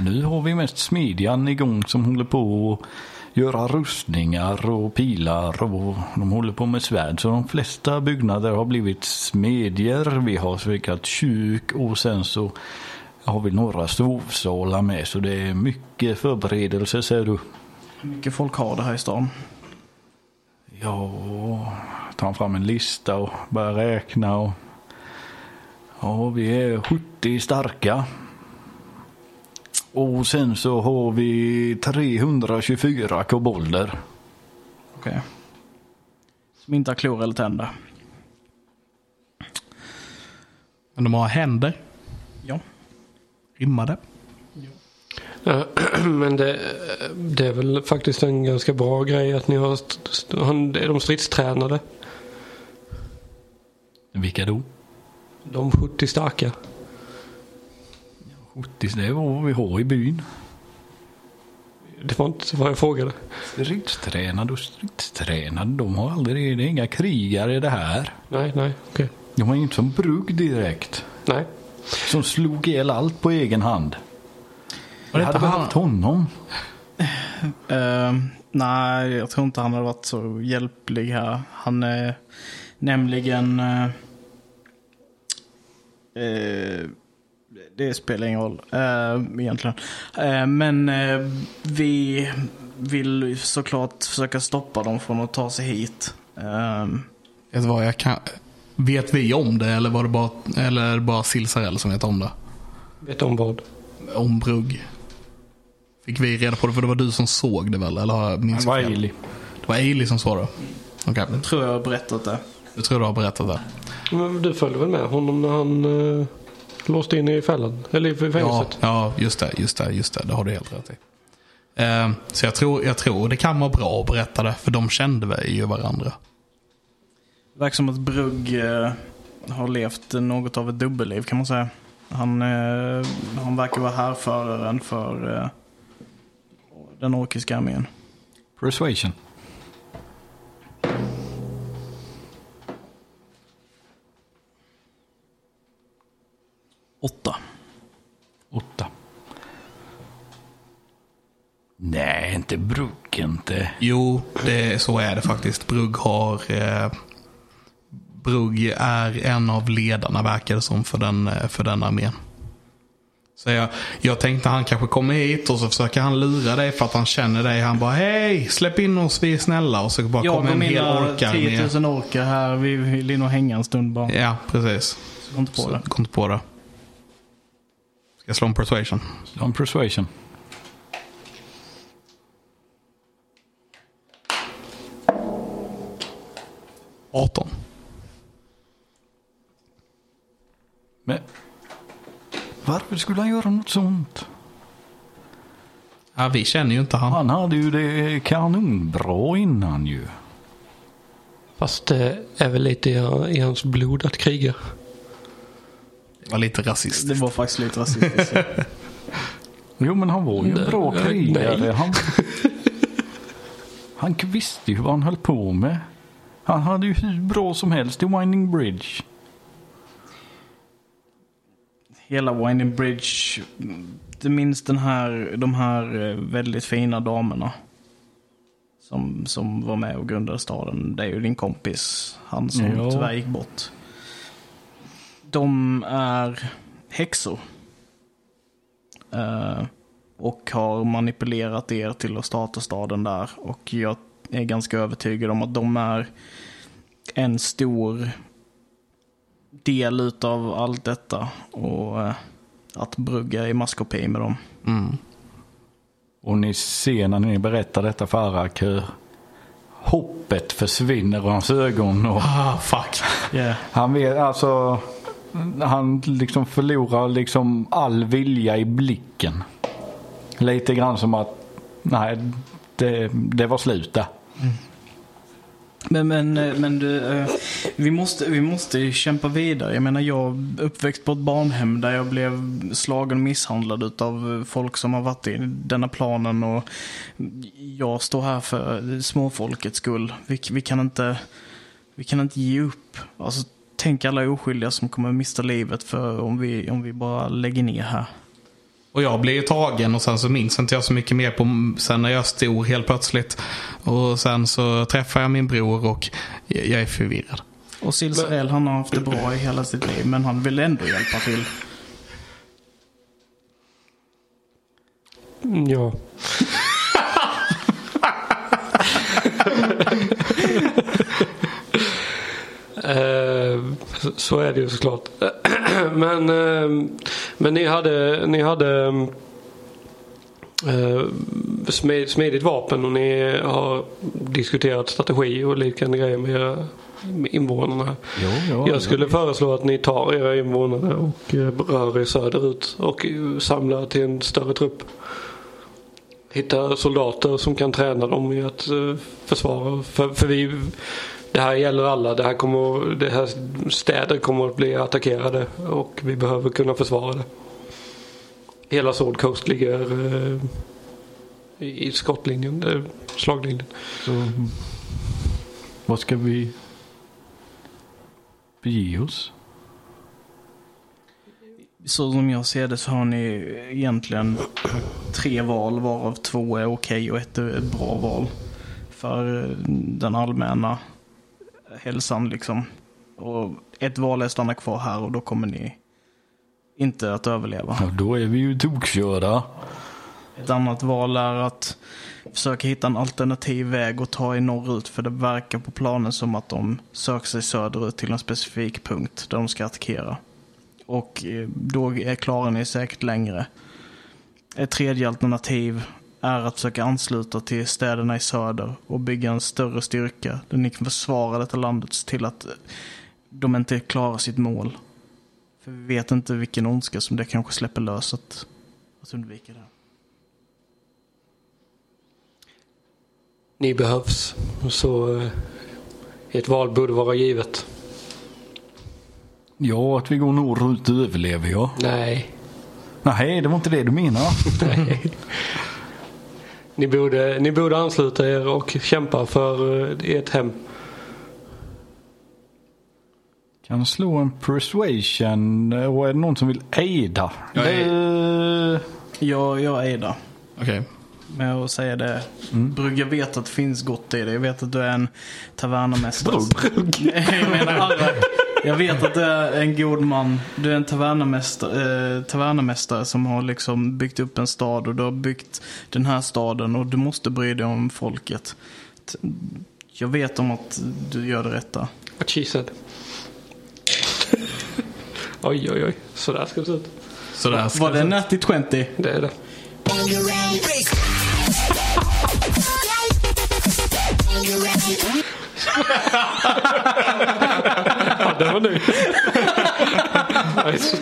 B: Nu har vi mest smedjan igång som håller på att göra rustningar och pilar och de håller på med svärd. Så de flesta byggnader har blivit smedjor. Vi har svikat kyrk och sen så har vi några sovsalar med. Så det är mycket förberedelser ser du.
C: Hur mycket folk har det här i stan?
B: Ja, tar fram en lista och börjar räkna. Och... Ja, vi är 70 starka. Och sen så har vi 324 kobolder.
C: Okej. Som inte har klor eller tänder?
A: Men de har händer,
C: Ja.
A: rimmade.
D: Ja, Men det, det är väl faktiskt en ganska bra grej att ni har... st- st- han- Är de stridstränade?
B: Vilka då?
D: De 70 starka.
B: 70, det är vad vi har i byn.
D: Det var inte vad jag frågade.
B: Stridstränade och stridstränade, de har aldrig, det är inga krigare det här.
D: Nej, nej, okej.
B: De har ju inte som brugg direkt.
D: Nej.
B: Som slog ihjäl allt på egen hand.
A: Och
B: Jag hade behövt honom.
C: Ehm, nej, jag tror inte han har varit så hjälplig här. Han är nämligen... eh, eh, det spelar ingen roll eh, egentligen. Eh, men eh, vi vill såklart försöka stoppa dem från att ta sig hit. Ehm,
A: Vet, du vad jag kan, vet vi om det eller var det bara, eller är det bara Silsarell som vet om det?
D: Vet om vad?
A: Om brugg. Fick vi reda på det för det var Mm. du som såg det väl? Eller har jag minns jag fel?
B: Wiley.
A: Det var Ailey som sa det. Okej.
C: Tror jag har berättat det.
A: Jag tror du har berättat det.
D: Men du följde väl med honom när han eh, låste in i fällan? Eller i
A: Ja,
D: fängelset?
A: ja, just det, just det, just det. Det har du helt rätt i. Ehm, så jag tror, jag tror det kan vara bra att berätta det, för de kände väl ju varandra.
C: Verkar som att Brugg eh, har levt något av ett dubbelliv kan man säga. Han, eh, han verkar vara härföraren för eh, den orkiska armén.
B: Persuasion.
C: Åtta.
B: Åtta. Nej, inte bruk inte.
A: Jo, det, så är det faktiskt. Brugg har... Eh, Brugg är en av ledarna verkar det som för den, eh, för den armén. Så jag, jag tänkte han kanske kommer hit och så försöker han lura dig för att han känner dig. Han bara hej, släpp in oss, vi är snälla. Och så bara
C: Jag
A: kommer
C: och
A: en hel
C: mina
A: orkar
C: 10
A: med.
C: 000 orkar här, vi vill in och hänga en stund bara.
A: Ja, precis.
C: Så Kom inte på
A: Så,
C: det.
A: kom inte på det. Ska jag slå en persuasion?
B: Slå en persuasion.
A: Arton.
B: Men varför skulle han göra något sånt?
A: Ja, vi känner ju inte han.
B: Han hade ju det kanonbra innan ju.
D: Fast det är väl lite i, i hans blod att kriga.
A: Det var lite rasist.
C: Det var faktiskt lite rasistiskt.
B: Jo men han var ju en bra
D: Nej.
B: krigare. Han, han visste ju vad han höll på med. Han hade ju hur bra som helst i Winding Bridge.
C: Hela Winding Bridge, inte minst den här, de här eh, väldigt fina damerna. Som, som var med och grundade staden. Det är ju din kompis, han som
B: Ja.
C: tyvärr gick bort. De är häxor. Eh, och har manipulerat er till att starta staden där. Och jag är ganska övertygad om att de är en stor del utav allt detta. Och eh, att brugga i maskopi med dem.
B: Och ni ser när ni berättar detta för Arak hur hoppet försvinner ur hans ögon. Och
A: Ah, fuck.
C: Yeah.
B: han vet alltså. Han liksom förlorar liksom all vilja i blicken. Lite grann som att nej, det, det var slut där.
C: Men, men, eh, men du, eh, vi, måste, vi måste kämpa vidare. Jag menar, jag är uppväxt på ett barnhem där jag blev slagen och misshandlad utav folk som har varit i denna planen. Och jag står här för småfolkets skull. Vi, vi, kan, inte, vi kan inte ge upp. Alltså, tänk alla oskyldiga som kommer mista livet för om, vi, om vi bara lägger ner här.
A: Och jag blev ju tagen och sen så minns inte jag så mycket mer på sen när jag stod helt plötsligt. Och sen så träffade jag min bror och jag jag är förvirrad.
C: Och Silsarell han har haft det bra i hela sitt liv men han vill ändå hjälpa till.
D: Mm, Ja. Eh, så- Så är det ju såklart. Men, eh, men ni hade, ni hade eh, smi- smidigt vapen och ni har diskuterat strategi och liknande grejer med era invånarna. här.
B: Jo, jo,
D: Jag skulle föreslå att ni tar era invånare och eh, rör er söderut och eh, samlar till en större trupp. Hitta soldater som kan träna dem i att eh, försvara. För, för vi, det här gäller alla. Det här, kommer, det här städer kommer att bli attackerade och vi behöver kunna försvara det. Hela Sword Coast ligger eh, i i skottlinjen, eh, slaglinjen.
B: Så, vad ska vi bege oss?
C: Så som jag ser det så har ni egentligen tre val varav två är okej och ett är ett bra val. För eh, den allmänna hälsan liksom. Och ett val är att stanna kvar här och då kommer ni inte att överleva.
B: Ja, då är vi ju tokkörda.
C: Ett annat val är att försöka hitta en alternativ väg och ta er norrut. För det verkar på planen som att de söker sig söderut till en specifik punkt där de ska attackera. Och eh, då är klarar ni säkert längre. Ett tredje alternativ är att försöka ansluta till städerna i söder och bygga en större styrka där ni kan försvara detta landet så till att eh, de inte klarar sitt mål. För vi vet inte vilken ondska som det kanske släpper lös att, att undvika det. här.
D: Ni behövs. Så eh, ett val borde vara givet.
B: Ja, att vi går norrut överlever jag.
D: Nej.
B: Nej, det var inte det du menade.
D: Ni borde, ni borde ansluta er och kämpa för eh, ert hem.
B: Kan slå en persuasion och är det någon som vill aida?
A: Jag är-
B: Det-
C: Jag, jag är där.
A: Okej.
C: med att säga det. Brugg, jag vet att det finns gott i det. Jag vet att du är en tavernamästare.
D: Brugg.
C: Nej, jag menar Arrak. Jag vet att du är en god man. Du är en tavernamästare, eh, tavernamästare som har liksom byggt upp en stad och du har byggt den här staden och du måste bry dig om folket. T- Jag vet om att du gör det rätta.
D: What she said. oj, oj, oj. Så där ska det se ut.
A: Sådär ska
C: Var det
A: det-
C: Natty 20?
D: Det är det. ja, det var ny. nice.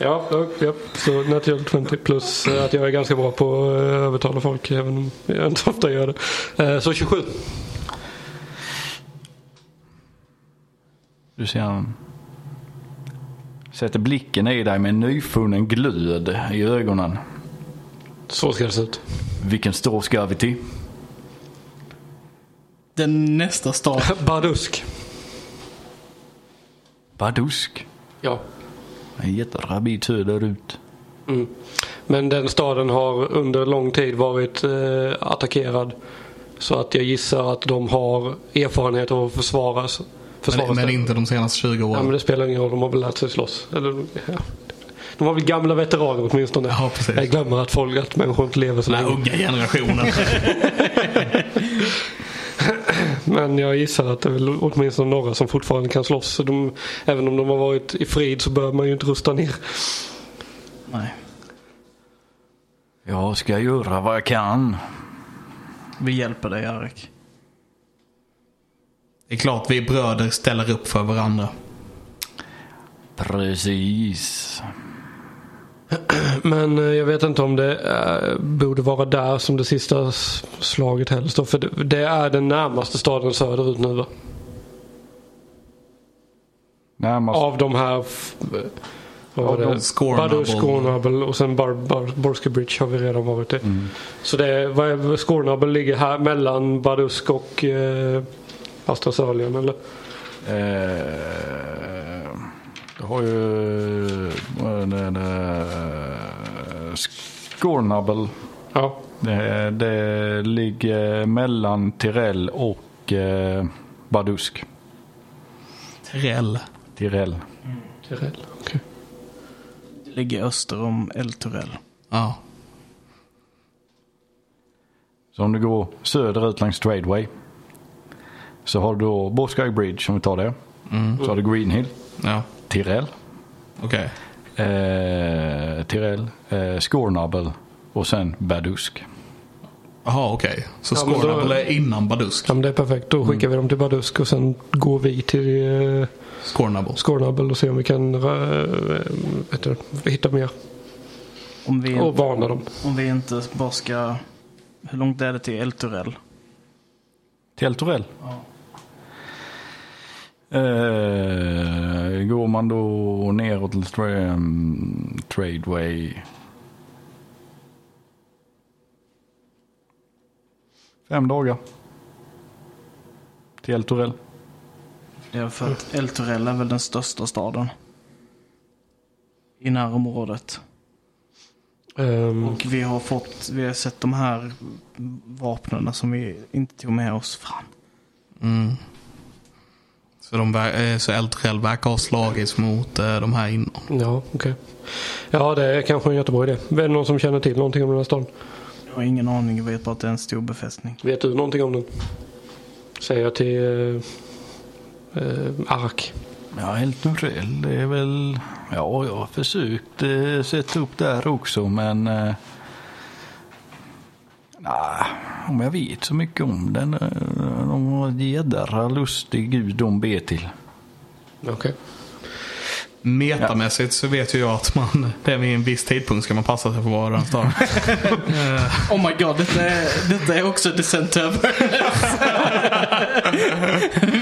D: Ja, ja, ja, så naturligt 20 plus eh, att jag är ganska bra på att eh, övertala folk även om jag inte ofta gör det. Eh, Så 27.
B: Du ser han sätter blicken i dig med nyfunnen glöd i ögonen.
D: Så ska det se ut.
B: Vilken stad ska vi till?
C: Den nästa stad.
D: Bardusk.
B: Badusk.
D: Ja.
B: En jättebra bit söderut.
D: Men den staden har under lång tid varit eh, attackerad. Så att jag gissar att de har erfarenhet av att försvara, försvara
A: Men, men
D: sig.
A: inte de senaste 20
D: Ja, men
A: åren.
D: det spelar ingen roll, de har väl lärt sig slåss. Eller, ja. De var väl gamla veteraner åtminstone.
A: Ja, precis.
D: jag glömmer att folk, att människor inte lever så
A: Den här
D: länge.
A: unga generationen.
D: Men jag gissar att det är väl åtminstone några som fortfarande kan slåss. Så de, även om de har varit i frid så behöver man ju inte rusta ner.
C: Nej.
B: Jag ska göra vad jag kan.
C: Vi hjälper dig, Arrak.
A: det är klart vi bröder ställer upp för varandra.
B: Precis.
D: Men eh, jag vet inte om det eh, borde vara där som det sista s- slaget helst. Då, för det, det är den närmaste staden söderut nu va?
B: Närmast.
D: Av de här... f- eh, Vad var det?
A: Scornable.
D: Badus, Scornable och sen Bar, Bar, Borske Bridge har vi redan varit i. Så det, vad är, Scornable ligger här mellan Badusk och eh, Astra Sörlien eller?
B: Eh, det har ju... Eh, Scornable.
D: Ja.
B: Det, det ligger mellan Tirell och eh, Badusk.
A: Terrell.
B: Tirell.
D: Tirel. okej.
C: Det ligger öster om El Torell.
A: Ja.
B: Så om du går söderut langs Tradeway. Så har du då Boskag Bridge om vi tar det. Så har du Greenhill.
A: Ja.
B: Tirell.
A: Okej.
B: Eh, Tirell. Eh, Scornable. Och sen Badusk.
A: Jaha, okej. Så
D: Ja, men då-
A: Scornable är innan Badusk?
D: Ja, men det är perfekt. Då skickar vi dem till Badusk och sen går vi till eh,
A: Scornable.
D: Scornable och ser om vi kan eh, vet du, hitta mer.
C: Om vi
D: Och varna dem.
C: Om vi inte bara ska... Hur långt är det till El Torell?
B: Till Torell. Eh, går man då neråt till tra- ehm, Tradeway. 5 dagar. Till Torell.
C: Det är för att El Torell är väl den största staden. I närområdet.
D: Ehm,
C: Och vi har fått, vi har sett de här vapnen som vi inte tog med oss. Fan.
A: Så, de, ver- eh, så Eltrell verkar ha slagits mot eh, de här innan.
D: Ja, okej. Ja, det är kanske en jättebra idé. Är det någon som känner till någonting om den här staden?
C: Jag har ingen aning, jag vet bara att det är en stor befästning.
D: Vet du någonting om den? Säger jag till eh, eh, Arak.
B: Ja, helt Torell det är väl... Ja, jag har försökt eh, sätta upp där också men... Eh, Nej, om jag vet så mycket om den. eh, De har ett jädra lustig gud de ber till.
D: Okej.
A: Metamässigt så vet ju jag att man, det är vid en viss tidpunkt ska man passa sig för var den står.
C: Oh my god, detta är, detta är också Descent to Avernus.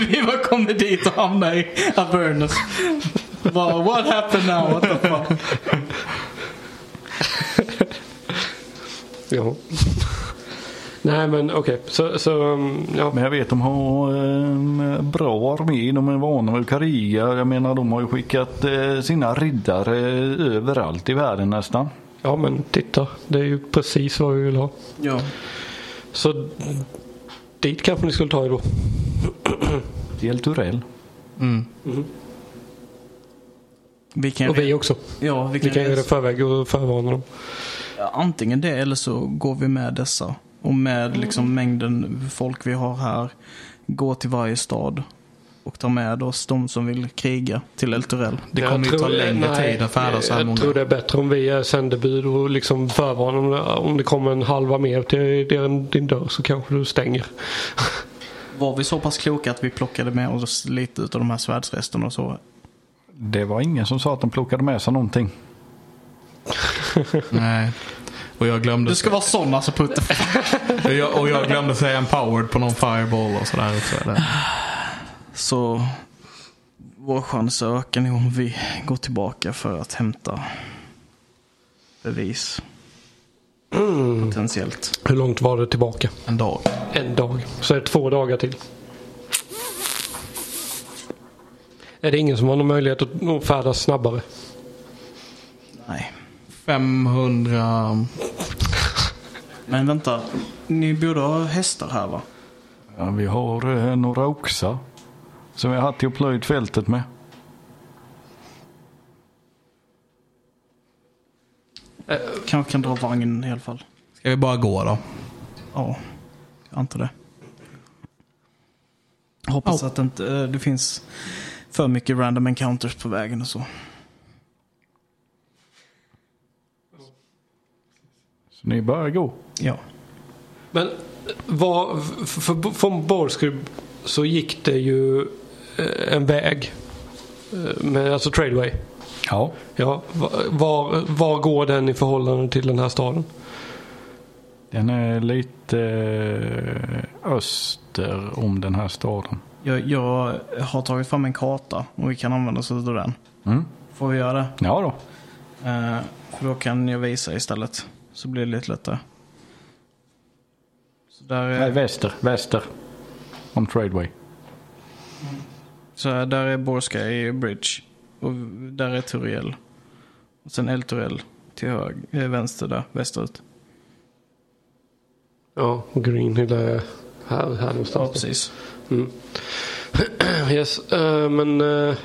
C: Vi var kommit dit och hamnade i Avernus. Bara, what happened now? What the fuck?
D: Ja. Nej men okej, så, så um, ja.
B: Men jag vet de har en bra armé. De är vana vid att kriga. Jag menar de har ju skickat eh, sina riddare överallt i världen nästan.
D: ja men titta, det är ju precis vad vi vill ha.
C: Ja.
D: Så dit kanske ni skulle ta er då.
B: Del Turell.
C: Vi kan,
D: Och vi också.
C: ja, vi
D: Vi
C: kan,
D: kan göra det i förväg och förvarna dem.
C: antingen det eller så går vi med dessa. Och med liksom mängden folk vi har här. Gå till varje stad. Och ta med oss de som vill kriga till El Torell.
A: Det
D: Jag
A: kommer ju ta
D: tror-
A: längre
D: nej,
A: tid att färdas så här
D: Jag
A: många.
D: tror det är bättre om vi är sändebud och liksom förvarnar om det, om det kommer en halva mer till din, din dörr så kanske du stänger.
C: Var vi så pass kloka att vi plockade med oss lite av de här svärdsresterna och så?
B: Det var ingen som sa att de plockade med sig någonting.
A: Nej. Och jag glömde,
C: Du ska vara sån alltså Putte.
A: och jag, och jag glömde säga empowered på någon fireball och sådär. Så där.
C: Så vår chans ökar nog om vi går tillbaka för att hämta bevis. Potentiellt.
D: Hur långt var det tillbaka?
A: En dag.
D: En dag. Så är det två dagar till. Är det ingen som har någon möjlighet att nå- färdas snabbare?
C: Nej.
A: 500...
C: Men vänta. Ni borde ha hästar här va?
B: Ja, vi har eh, några oxar. Som vi har haft till att plöjt fältet med.
C: Kanske kan dra vagn i alla fall.
A: Ska vi bara gå då?
C: Ja, jag antar det. Hoppas att det inte eh, det finns för mycket random encounters på vägen och så.
B: Så ni börjar gå.
C: Ja.
D: Men var, för, för, från Borskrubb så gick det ju eh, en väg. Eh, Med, alltså Tradeway.
B: Ja.
D: Ja, va- var, var går den i förhållande till den här staden?
B: Den är lite eh, öster om den här staden.
C: Jag, jag har tagit fram en karta och vi kan använda oss av den.
B: Mm.
C: Får vi göra det?
B: Ja då.
C: Eh, för då kan jag visa istället. Så blir det lite lättare. Så där
B: Nej,
C: är,
B: väster. Väster. Om Tradeway.
C: så här, där är Borska i Bridge. Och där är Turiel. Och sen El Turiel till höger, eh, vänster där, västerut.
D: Ja, Greenhill är här, här
C: Ja,
D: någonstans.
C: precis.
D: Yes, eh, men... eh,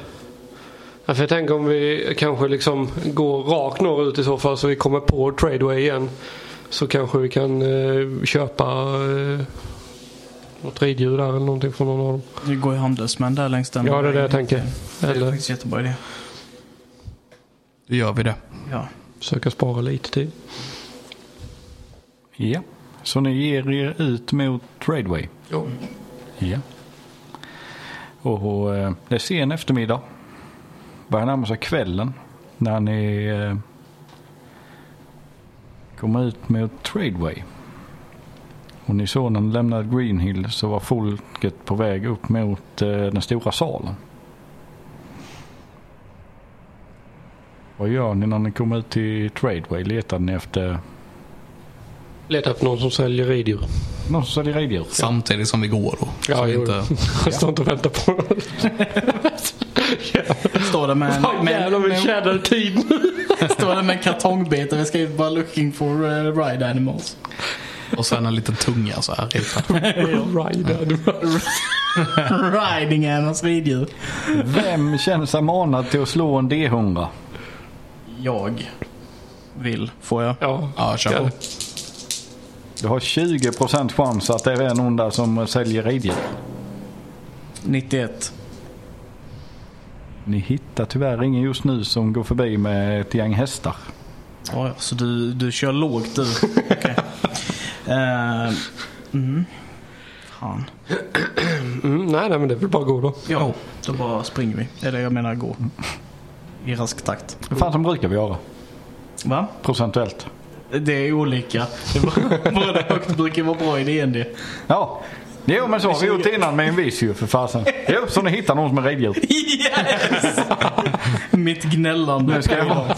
D: ja, för jag tänker om vi kanske liksom går rakt norrut i så fall så vi kommer på Tradeway igen. Så kanske vi kan eh, köpa eh, något riddjur där eller någonting från någon av dem.
C: Det går ju handelsmän där längs den
D: Ja, det är det jag
C: vägen.
D: tänker.
C: Det är
D: Eller
C: faktiskt jättebra idé.
A: Då gör vi det.
C: Ja.
D: försöka spara lite tid.
B: Ja. Så ni ger er ut mot Tradeway.
D: Ja.
B: Ja. Och eh, det är sen eftermiddag. Börjar närma sig kvällen. När ni eh, kommer ut mot Tradeway. Och ni såg när ni lämnade Greenhill så var folket på väg upp mot eh, den stora salen. Vad gör ni när ni kommer ut till Tradeway? Letar ni efter
D: Leta efter någon som säljer riddjur.
B: någon som säljer riddjur?
A: Samtidigt som vi går då. Så
D: Ja,
A: vi
D: jo.
A: inte...
D: Jag står inte och väntar på dem.
C: Står där med en,
D: Fan
C: med,
D: jävlar vi
C: med,
D: tjänar tid nu.
C: står där med en kartongbit där vi skriver bara looking for eh, ride animals.
A: Och sen en liten tunga så här.
D: Rider.
C: Riding animals riddjur.
B: Vem känner sig manad till att slå en D100?
C: Jag vill. Får jag?
D: Ja.
A: Ja, kör på.
B: Du har 20% chans att det är någon där som säljer riddjur.
C: 91.
B: Ni hittar tyvärr ingen just nu som går förbi med ett gäng hästar.
C: Ja, ja, så du, du kör lågt du. Okej. Eh, mm. Fan.
D: Mm, nej, nej, men det är väl bara gå då.
C: Ja, då bara springer vi. Eller jag menar går. I rask takt.
B: Det fan som brukar vi göra.
C: Va?
B: Procentuellt.
C: Det är olika. Det är bara- Bara det högt brukar vara bra i DND.
B: Ja. Jo men så har vi gjort innan med en viss ju för fasen. Jo, så ni hittar någon som är räddhjul.
C: Yes! Mitt gnällande.
B: Nu ska jag vara.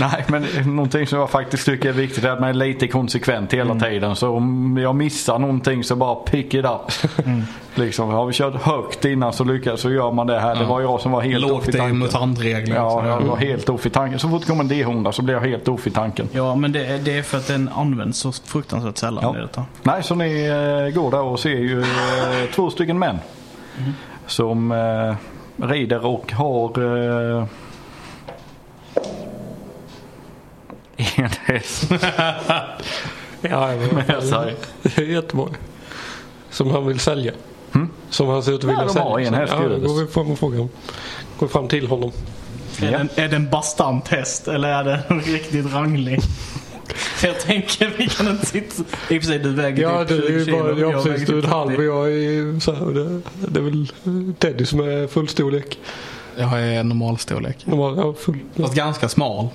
B: Nej men någonting som jag faktiskt tycker är viktigt är att man är lite konsekvent
A: Mm.
B: hela tiden. Så om jag missar någonting så bara pick it up.
A: Mm.
B: Liksom, har vi kört högt innan så lyckas så gör man det här. Det var jag som var helt off i
A: Lågt är
B: tanken.
A: mutantregler.
B: Ja,
A: så.
B: jag var helt off i tanken. Så fort det kom en D100 så blev jag helt off i tanken.
C: Ja, men det är, det är för att den används så fruktansvärt sällan.
B: Ja.
C: i detta.
B: Nej, så ni eh, går där och ser ju eh, två stycken män. Som eh, rider och har eh, en häst.
D: Ja,
B: sorry.
D: det är jättebra. Som han vill sälja. Som han ser ut att vilja
B: Ja, de
D: sälja.
B: har en häst i
D: ja, då
B: huvudet.
D: går vi fram och frågar honom. Går fram till honom.
C: Är,
B: Ja.
C: den, är det en bastant häst eller är det en riktigt ranglig? För jag tänker vi kan inte sitta... I och för sig du väger
D: Ja,
C: typ
D: du är
C: 20
D: ju
C: kilo.
D: bara, ja,
C: jag väger
D: precis. Du är en
C: typ
D: halv
C: 30.
D: och jag är så här. Det, det är väl Teddy som är full storlek.
A: Jag är normal storlek.
D: De har, ja, full, ja.
A: Fast ganska smal.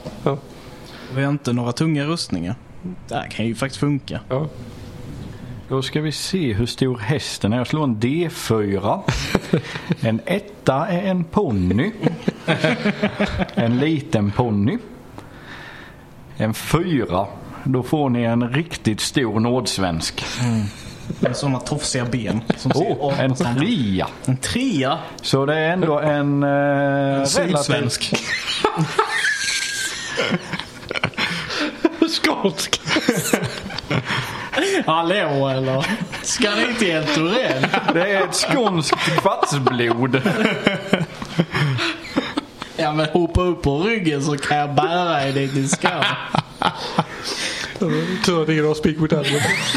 C: Vi har inte några tunga rustningar. Det här kan ju faktiskt funka.
D: Ja.
B: Då ska vi se hur stor hästen är. Jag slår en D4. En etta är en ponny. En liten ponny. En fyra. Då får ni en riktigt stor nordsvensk.
C: Med sådana tofsiga ben. Som ser
B: Oh, en
C: apor.
B: trea.
C: en trea.
B: Så det är ändå en eh, relativt...
A: Sydsvensk.
D: Skånsk!
C: Hallå eller? Ska ni inte helt Torell?
B: Det är ett skånskt kvartsblod.
C: Ja men hoppa upp på ryggen så kan jag bära er dit ni ska.
D: Tur att ingen har speak with animals.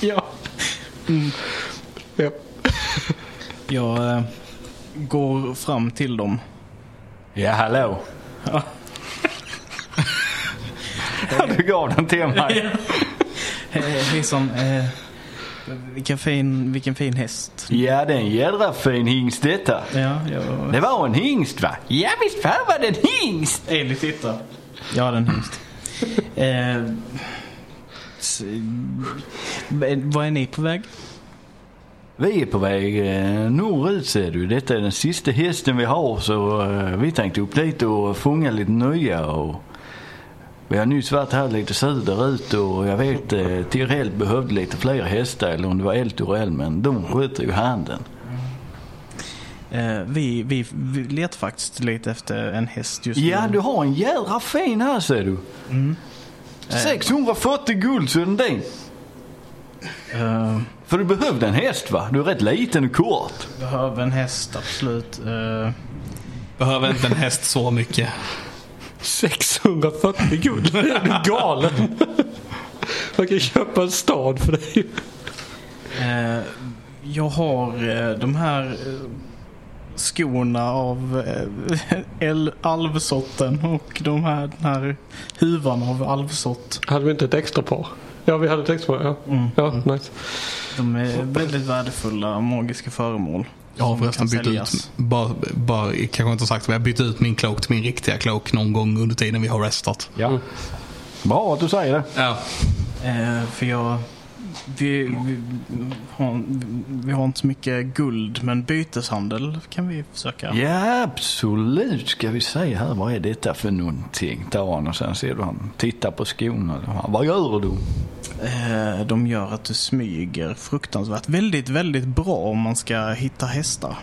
C: Ja.
D: Ja.
C: Jag eh, går fram till dem.
B: Ja, hallå.
C: Ja.
B: Du gav den till mig.
C: Eh, Hejsan. Eh, vilken, fin, vilken fin häst.
B: Ja, det är en jädra fin hingst detta.
C: Ja, jag...
B: Det var en hingst va? Ja, visst fan var det en hingst.
C: Eli titta. Ja, den hingst. eh, s- men vad är ni på väg?
B: Vi är på väg eh, norrut ser du. Detta är den sista hästen vi har så eh, vi tänkte upp dit och fånga lite nya. Och vi har nyss varit här lite söderut och jag vet eh, Tirell behövde lite fler hästar eller om det var Eltorell men de sköter ju handen.
C: Eh, vi, vi, vi letar faktiskt lite efter en häst just
B: Ja
C: nu.
B: du har en jädra fin här ser du. 640 guld så är den din.
C: Eh,
B: För du behövde en häst va? Du är rätt liten och kort.
C: behöver en häst, absolut. Eh,
A: Behöver inte en häst så mycket.
D: 640 guld. Är du galen? Man kan köpa en stad för det.
C: Eh, jag har eh, de här eh, skorna av eh, el- alvsorten och de här, den här huvan av alvsort.
D: Hade vi inte ett extra par? Ja, vi hade ett extra par. Ja, ja nice.
C: De är väldigt värdefulla magiska föremål.
A: Jag har
C: som
A: förresten
C: kan
A: bytt ut,
C: säljas.
A: bara, bara, kanske inte sagt men jag har bytt ut min cloak till min riktiga cloak någon gång under tiden vi har restat.
B: Ja. Bra att du säger det.
A: Ja.
C: Eh, för jag... Vi, vi, har, vi har inte så mycket guld men byteshandel kan vi försöka.
B: Ja, absolut ska vi se här. Vad är detta för någonting? Tar han och sen ser du han tittar på skorna. Han, Vad gör du?
C: Eh, de gör att du smyger fruktansvärt. Väldigt, väldigt bra om man ska hitta hästar.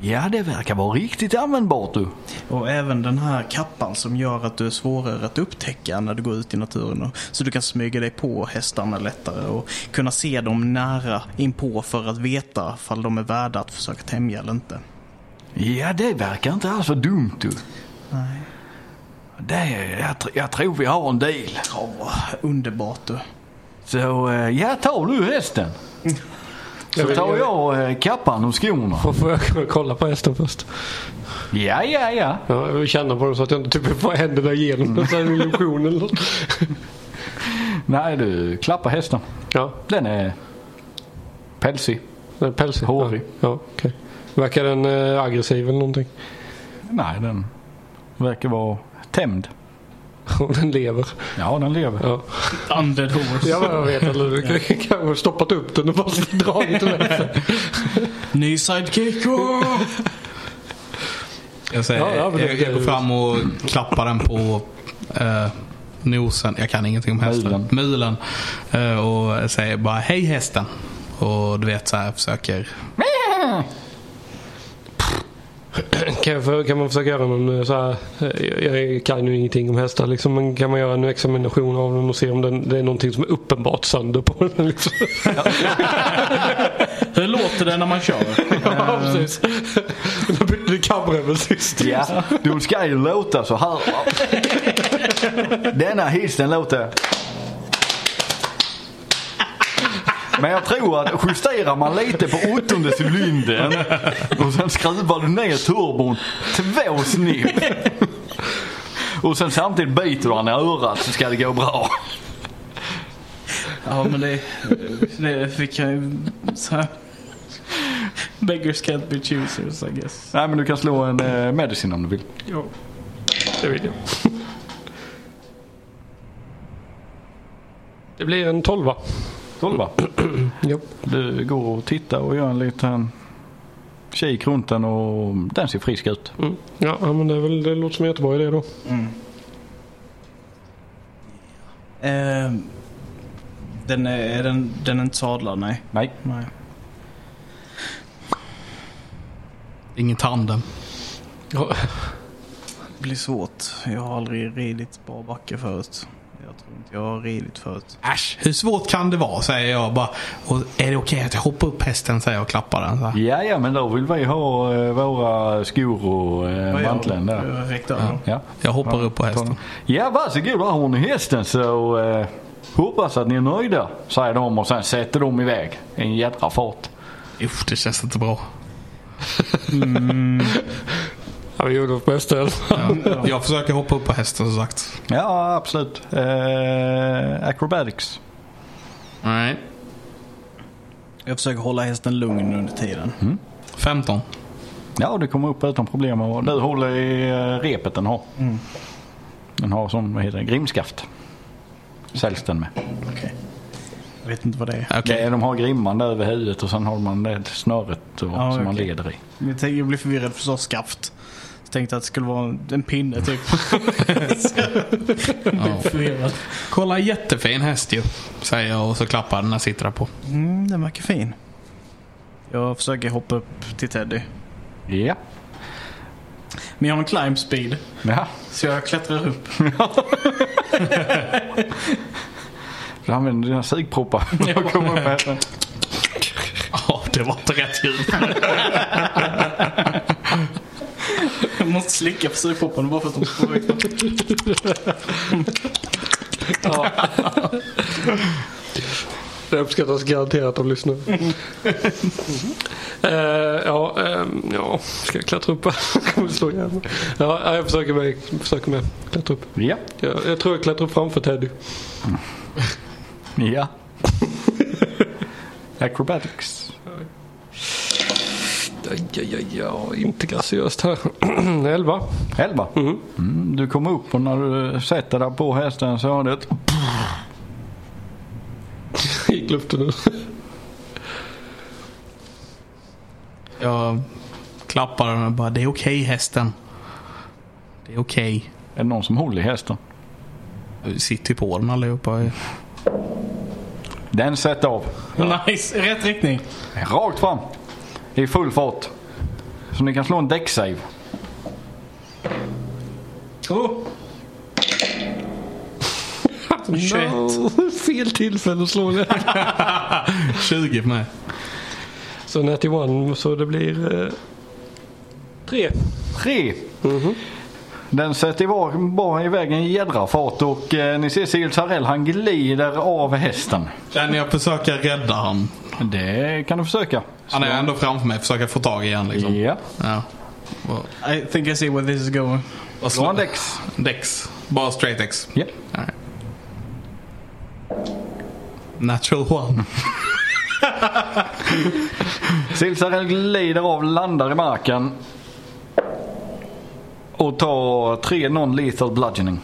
B: Ja, det verkar vara riktigt användbart du.
C: Och även den här kappan som gör att du är svårare att upptäcka när du går ut i naturen. Och- Så du kan smyga dig på hästarna lättare och kunna se dem nära inpå för att veta fall de är värda att försöka tämja eller inte.
B: Ja, det verkar inte alls vara dumt du.
C: Nej.
B: Det, är- jag, tr- jag tror vi har en deal.
C: Åh, underbart du.
B: Så eh, ja, tar du hästen. Så tar jag eh, kappan och skorna.
D: Då får jag kolla på hästen först.
B: Ja, ja, ja.
D: Ja, jag vill känna på den så att jag inte typ får händerna igenom den. Så är det en illusion eller något.
B: Nej du, klappa hästen.
D: Ja,
B: Den är pälsig.
D: den är pälsig.
B: Hårig.
D: Ja, ja, okej. Verkar den eh, aggressiv eller någonting?
B: Nej, den verkar vara tämjd.
D: Om den lever.
B: Ja, den lever.
D: Ja.
C: Undead horse.
D: Ja, men jag vet att du kan- kanske har stoppat upp den och bara dragit den med sig.
C: Ny sidekick. åh!
A: Jag, säger,
D: Ja, ja, men det-
A: jag, jag går fram och klappar den på eh, nosen. Jag kan ingenting om hästen. Mulen. Eh, och säger bara hej hästen. Och du vet så här försöker.
D: Kan, jag för- kan man försöka göra någon eh, så här, eh, jag kan ju ingenting om hästar liksom, men kan man göra en examination av den och se om den, det är någonting som är uppenbart sönder på den? Liksom.
C: Hur låter det när man kör?
D: Ja, precis. Eh, Då bytte vi kamrövel sist.
B: Ja, du ska ju låta så här. Denna hissen låter. Men jag tror att justerar man lite på åttonde cylindern och sen skruvar du ner turbon två snipp. Och sen samtidigt biter du han i örat så ska det gå bra.
C: Ja, men det, det fick jag ju så här. Beggars can't be choosers I guess.
B: Nej men du kan slå en eh, medicin om du vill.
D: Ja, det vill jag. Det blir en tolva.
B: Tolva.
D: Ja.
B: Du går och tittar och gör en liten kik runt den och den ser frisk ut.
D: Mm. Ja, ja, men det, är väl, det låter som en jättebra idé då.
C: Ehm, den, är, är den, den är inte sadlad, nej.
B: Nej.
C: nej.
A: Ingen tandem.
D: Ja,
C: Det blir svårt. Jag har aldrig ridit barbacke förut. Jag tror inte jag har ridit förut.
A: Äsch, hur svårt kan det vara? Säger jag bara. Och är det okej att jag hoppar upp hästen? Säger jag och klappar den. Så här.
B: Ja, ja, men då vill vi ha eh, våra skor och eh,
C: Vad gör
B: manteln
C: jag?
B: där.
C: Jag räckte över dem.
B: Ja.
A: Jag hoppar upp på hästen.
B: ja, varsågod, där har ni hästen så eh, hoppas att ni är nöjda, säger de och sen sätter de iväg i en jädra fart.
A: Usch, det känns inte bra.
D: Ja, vi gjorde vårt bästa. eller?
A: Jag försöker hoppa upp på hästen som sagt.
B: Ja, absolut. Eh, acrobatics.
A: Nej.
C: Jag försöker hålla hästen lugn under tiden.
A: 15.
B: Ja, du kommer upp utan problem och du håller i eh, repet den har.
C: Mm.
B: Den har som, vad heter det, grimskaft. Säljs den med.
C: Okej. Jag vet inte vad det är.
A: Okej.
B: Det är- De har grimman där över huvudet och sen har man det snöret och, som
C: Ja,
B: man
C: okej.
B: leder i.
C: Jag, tänkte, jag blev förvirrad för så skaft. Jag tänkte att det skulle vara en pinne typ.
A: Ja.
C: förvirrad.
A: Kolla jättefin häst ju. Säger jag och så klappar den när jag sitter där på.
C: Mm, den verkar fin. Jag försöker hoppa upp till Teddy.
B: Ja.
C: Men jag har en climb speed.
B: ja.
C: Så jag klättrar upp.
B: Du använder dina sugproppar för att komma upp här.
A: Ja, det var inte rätt ljud.
C: Jag måste slicka på sugproppen bara för att de ska vara väck.
D: Det uppskattas garanterat av lyssnare. Eh, ja, ehm, ja, ska jag klättra upp här? Kommer slå ihjäl mig. Ja, ja, jag försöker med. Försöker med. Klättra upp.
B: Ja.
D: Jag, jag tror jag klättrar upp framför Teddy.
B: Ja. Acrobatics.
D: Ja, ja, ja, ja, inte graciöst här. Elva.
B: Elva.
C: Mm-hmm.
B: Mm, du kommer upp och när du sätter dig på hästen så har du ett...
D: Gick luften nu.
A: Jag klappar den och bara, det är okej hästen. Det är okej.
B: Är det någon som håller i hästen?
A: Vi sitter ju på den allihopa.
B: Den sätter av.
C: Nice, rätt riktning.
B: Rakt fram. I full fart. Så ni kan slå en däcksave.
C: Oh. 21.
D: No, fel tillfälle att slå det.
A: 20 för mig.
D: Så 91 så det blir... Eh, tre.
B: Tre. Den sätter iväg, bara iväg en jädra fart och eh, ni ser Sigurd Sarell, han glider av hästen.
A: Kan jag försöka rädda han?
B: Det kan du försöka.
A: Han är ändå framför mig. Försöka få tag i han liksom.
B: Ja.
A: Ja. Och-
C: I think I see where this is going.
A: Och
B: Slå en
A: slå
B: däcks.
A: Dex. Bara straight Dex.
B: Ja.
A: Nej. Natural one.
B: Silsarell glider av, landar i marken. Och tar tre non-lethal bludgeoning.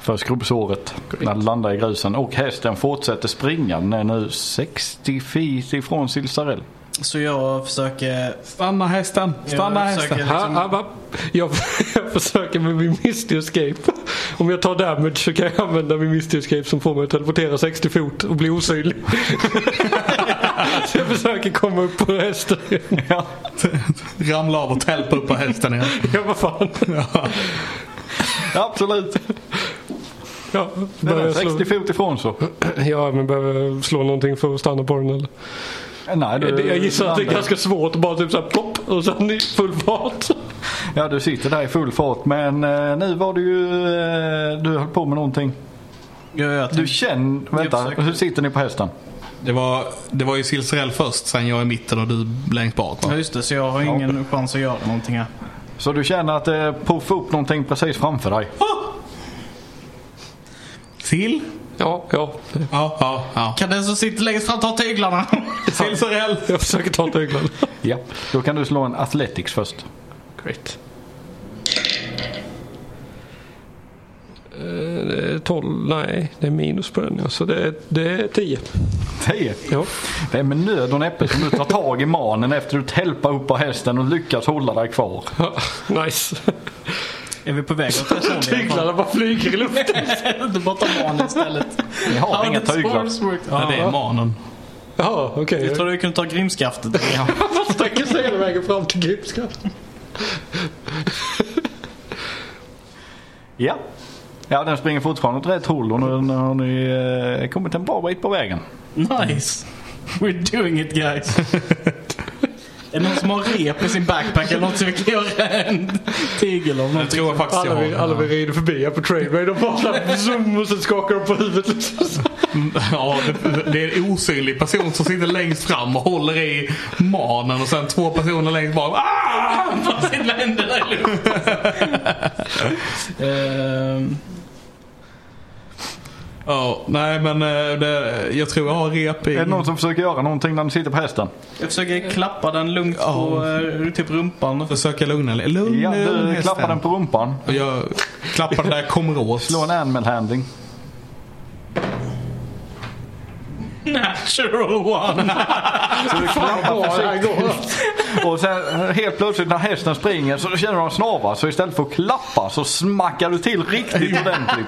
B: För skrubbsåret. När det landar i grusen. Och hästen fortsätter springa. Den är nu 60 feet ifrån Silsarell.
C: Så jag försöker...
A: Stanna hästen, stanna
C: jag
A: hästen.
C: försöker
D: Ha,
C: liksom...
D: ha, ha. Jag, jag försöker med min Misty Escape. Om jag tar damage så kan jag använda min Misty Escape som får mig att teleportera 60 fot och bli osynlig. så jag försöker komma upp på hästen.
B: Ja.
A: Ramla av och tälpa upp på hästen igen.
D: Ja, vad fan.
B: Absolut.
D: Ja,
B: Den
D: börjar
B: är
D: jag slå.
B: 60 fot ifrån så.
D: Ja, men behöver jag slå någonting för att stanna på den eller?
B: Nej, du,
D: Jag gissar att det är
B: landar-
D: ganska svårt att bara typ såhär plopp och sen i full fart.
B: Ja, du sitter där i full fart. Men eh, nu var du ju... Eh, du höll på med någonting.
C: Ja, jag
B: Du
C: tänkte-
B: känner... Vänta,
C: försöker.
B: hur sitter ni på hästen?
A: Det var, det var ju Silsarell först, sen jag i mitten och du längst bak.
C: Ja
A: Va?
C: just det, så jag har ingen chans att göra någonting här.
B: Så du känner att det puffar upp någonting precis framför dig?
A: Sill?
D: Ja, ja.
A: Ja, ja, ja.
C: Kan den som sitter längst fram ta tyglarna?
A: Silsarell!
D: Jag försöker ta tyglarna.
B: Ja. Då kan du slå en Athletics först.
D: Great. Eh, det är 12, nej det är minus på den ja. Så det är, det är 10.
B: 10.
D: Ja.
B: Det är med nöd och näppe som du tar tag i manen efter att du tälpar upp på hästen och lyckas hålla dig kvar.
D: Ja, nice.
C: är vi på väg åt personligen?
D: Tyglarna bara flyger i luften.
C: Du bara tar barn istället.
B: Ni har inga tyglar.
A: Ja, det är manen.
D: Ja, okej.
C: Jag
D: Okay.
C: trodde du kunde ta grimskaftet.
D: Man sträcker sig hela vägen fram till gripskatten.
B: Ja. Ja, den springer fortfarande åt rätt håll och nu nu har ni eh, kommit en bra bit på vägen.
C: Nice! We're doing it guys. är det någon som har rep i sin backpack eller något så vi kan göra en tegel av
A: Jag
C: någonting?
A: tror jag faktiskt jag
D: Alla vi, alla
A: har.
D: vi rider förbi här på Trainway. De bara såhär zoom och sen skakar de på huvudet. liksom.
A: Ja, det, det är en osynlig person som sitter längst fram och håller i manen och sen två personer längst bak. Ah!
C: Vad sitter med händerna i luften? Ehm,
A: Ja, nej men eh, det, jag tror jag har rep i...
B: Är det någon som försöker göra någonting när ni sitter på hästen?
C: Jag försöker klappa den lugnt
A: Ja.
C: på eh, typ rumpan.
A: Försöka lugna lite. Lugn
B: Ja,
A: lugn,
B: du
A: hästen.
B: klappar den på rumpan.
A: Och jag klappar den där kommer åt.
B: Slå en animal handling.
C: Natural one!
B: Så du klappar
D: Ja, det
B: försiktigt.
D: här går.
B: Och sen eh, helt plötsligt när hästen springer så känner de snavar så istället för att klappa så smackar du till riktigt ordentligt.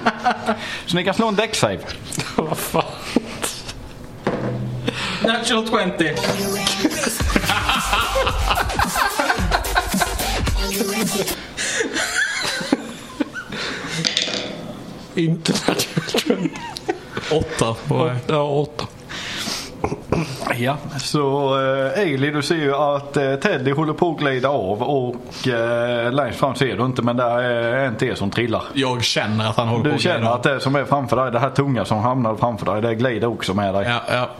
B: Så ni kan slå en däcksave.
D: Vad fan.
C: Natural 20!
D: International Trainway.
A: Åtta. På,
D: Ja, åtta.
B: Ja. Så eh, Ailey du ser ju att eh, Teddy håller på att glida av och eh, längst fram ser du inte men där är en till som trillar.
A: jag känner att han håller på
B: Du
A: att glida
B: känner
A: av.
B: att det som är framför dig, det här tunga som hamnar framför dig, det glider också med dig.
A: Ja, ja.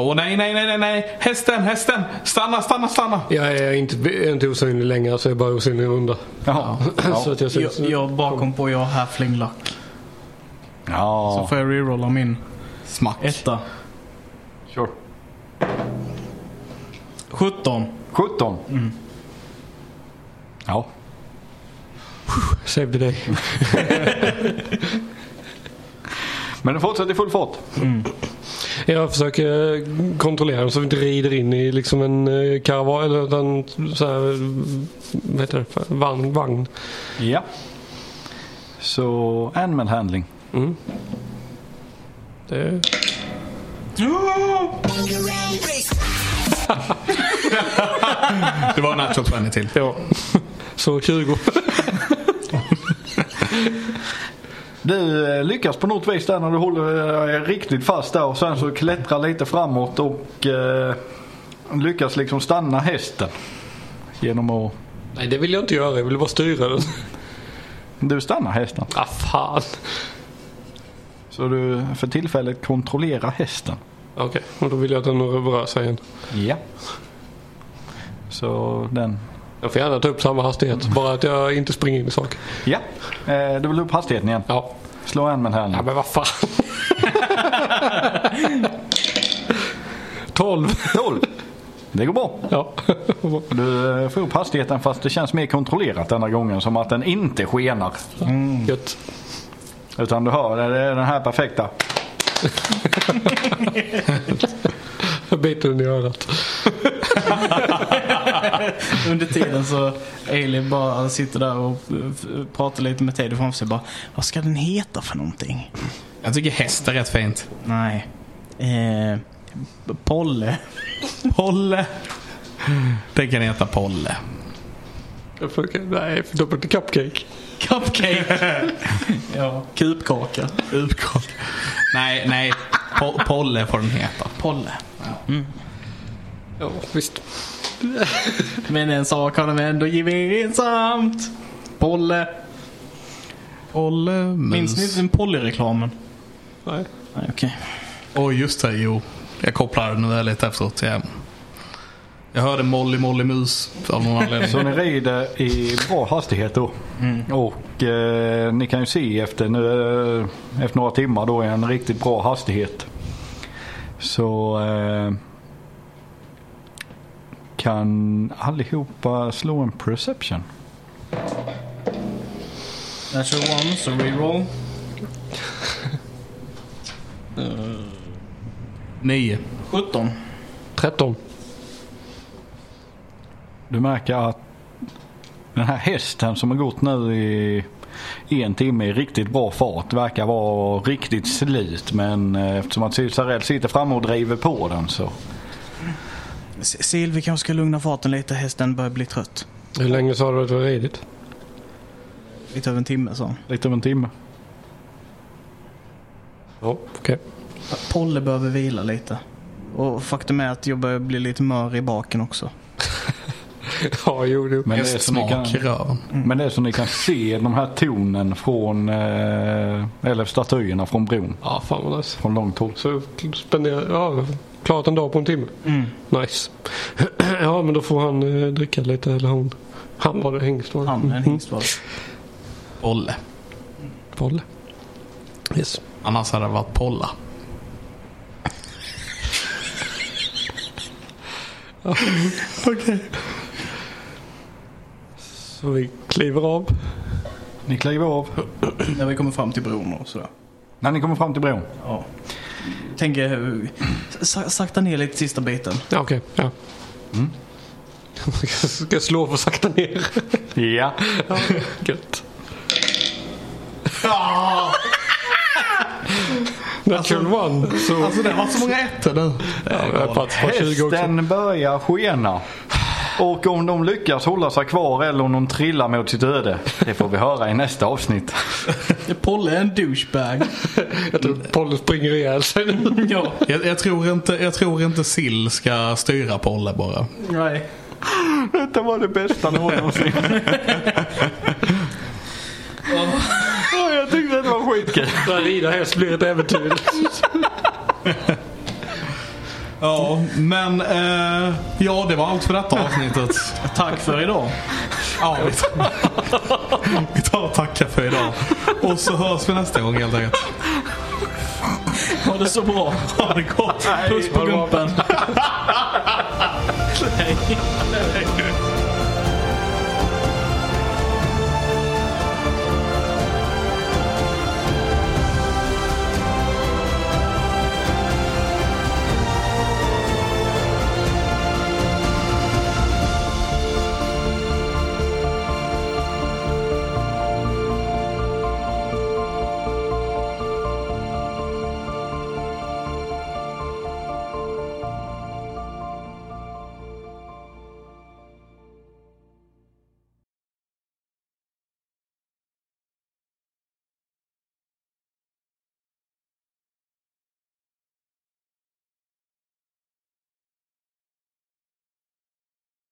A: Åh nej, nej, nej, nej, nej. Hästen, hästen. Stanna, stanna, stanna.
D: Jag är inte, jag är inte osynlig längre så jag är bara osynlig i en runda.
B: Jaha. Ja.
D: Så att jag
C: Jag,
D: syns.
C: jag bara kom på jag har halfling luck. Så
B: ja.
C: får jag rerolla min
A: Smack.
C: etta.
B: Sure.
C: 17.
B: 17. Ja.
D: Save the day.
B: Men du fortsätter i full fart.
D: Jag försöker eh, kontrollera den så vi inte rider in i liksom en eh, karavan eller en så här, vad heter det, för- vagn. vagn.
B: Ja. Så animal handling.
D: Det är...
A: Det var en natural 20 till.
D: Ja. Så 20.
B: Du eh, lyckas på något vis där när du håller dig riktigt fast där och sen så klättrar lite framåt och eh, lyckas liksom stanna hästen. Genom att...
D: Nej det vill jag inte göra. Jag vill bara styra den.
B: Du stannar hästen.
D: Ah fan.
B: Så du för tillfället kontrollerar hästen.
D: Okej, och då vill jag att den rör sig igen.
B: Ja. Så den...
D: Jag får gärna ta upp samma hastighet. Bara att jag inte springer in i saker.
B: Ja. Eh, du vill upp hastigheten igen.
D: Ja.
B: Slå animal
D: Ja
B: handling.
D: men vad fan. 12.
B: 12. Det går bra.
D: Ja.
B: Du eh, får upp hastigheten fast det känns mer kontrollerat denna gången. Som att den inte skenar.
D: Gött.
B: Utan du hör det är den här perfekta.
D: Jag biter den i örat.
C: Under tiden så Ailey bara sitter där och eh, pratar lite med Teddy framför sig. Bara, vad ska den heta för någonting?
A: Jag tycker häst är rätt fint.
C: Nej. Eh, Polle.
A: Polle. Tänker den heta Polle.
D: Jag får, nej, för då blir det cupcake.
C: Cupcake. ja. Kupkaka.
A: Utgång. Nej, nej. Po Polle får den heta.
C: Polle.
D: Ja, visst.
C: Men en sak har de ändå gemensamt. Polle.
A: Polle
C: Minns
A: Mus.
C: ni inte den Polly-reklamen?
D: Nej.
C: Nej, okej.
A: Oj, just det. Jo. Jag kopplar nu här lite efteråt. Jag, jag hörde Molly Molly Mus av någon anledning.
B: Så ni rider i bra hastighet då. Och eh, ni kan ju se efter, nu, eh, efter några timmar då är en riktigt bra hastighet. Så eh, kan allihopa slå en perception.
C: Natural one, så reroll.
A: Nio.
C: 17.
D: 13.
B: Du märker att den här hästen som har gått nu i en timme i riktigt bra fart verkar vara riktigt slut. Men eh, eftersom att Cesarell sitter framme och driver på den så.
C: Sil, vi kanske ska lugna farten lite. Hästen börjar bli trött.
D: Hur länge sa du att du har ridit?
C: Lite över en timme så.
B: Lite över en timme.
D: Ja, okej.
C: Polle behöver vila lite. Och faktum är att jag börjar bli lite mör i baken också.
D: Ja, jo, jo.
B: Men det, som ni kan,
A: Hästsmak i röven.
B: men det som ni kan se, de här tonen från, eh, eller statyerna från bron.
D: Ja, fan vad nice.
B: Från långt håll.
D: Så spenderar, ja, klarat en dag på en timme. Nice. ja, men då får han eh, dricka lite, eller hon. Han var det, hingst var det.
C: Han är en hingst var det.
A: Polle.
D: Bolle. Yes.
A: Annars hade det varit Polla.
D: Okej. Så vi kliver av.
B: Ni kliver av.
C: När vi kommer fram till bron och sådär.
B: När ni kommer fram till bron.
C: Ja. Tänker eh, sa- sakta ner lite sista biten.
D: Ja, okej. Ja. Ska jag slå för att sakta ner?
B: Ja.
D: Gött. Natural one. Så
A: Alltså det var så många ettor nu.
D: jag har plats på 20 också.
B: Hästen börjar skena. Och om de lyckas hålla sig kvar eller om de trillar mot sitt öde. Det får vi höra i nästa avsnitt.
C: Polle är en douchebag.
D: Jag tror Pollen springer ihjäl sig nu.
C: ja.
A: Jag, jag, tror inte, jag tror inte Sill ska styra Polle bara.
C: Nej.
B: Detta var det bästa någonsin. Ja, Jag tyckte det var skitkul.
D: Där rida häst blir ett äventyr.
A: Ja, men eh, ja, det var allt för detta avsnittet.
C: Tack för idag.
A: Ja, vi tar, vi tar och tackar för idag. Och så hörs vi nästa gång helt enkelt.
C: Ha det så bra.
A: Ha det gott!
C: Puss på
D: ha det bra.
C: gumpen.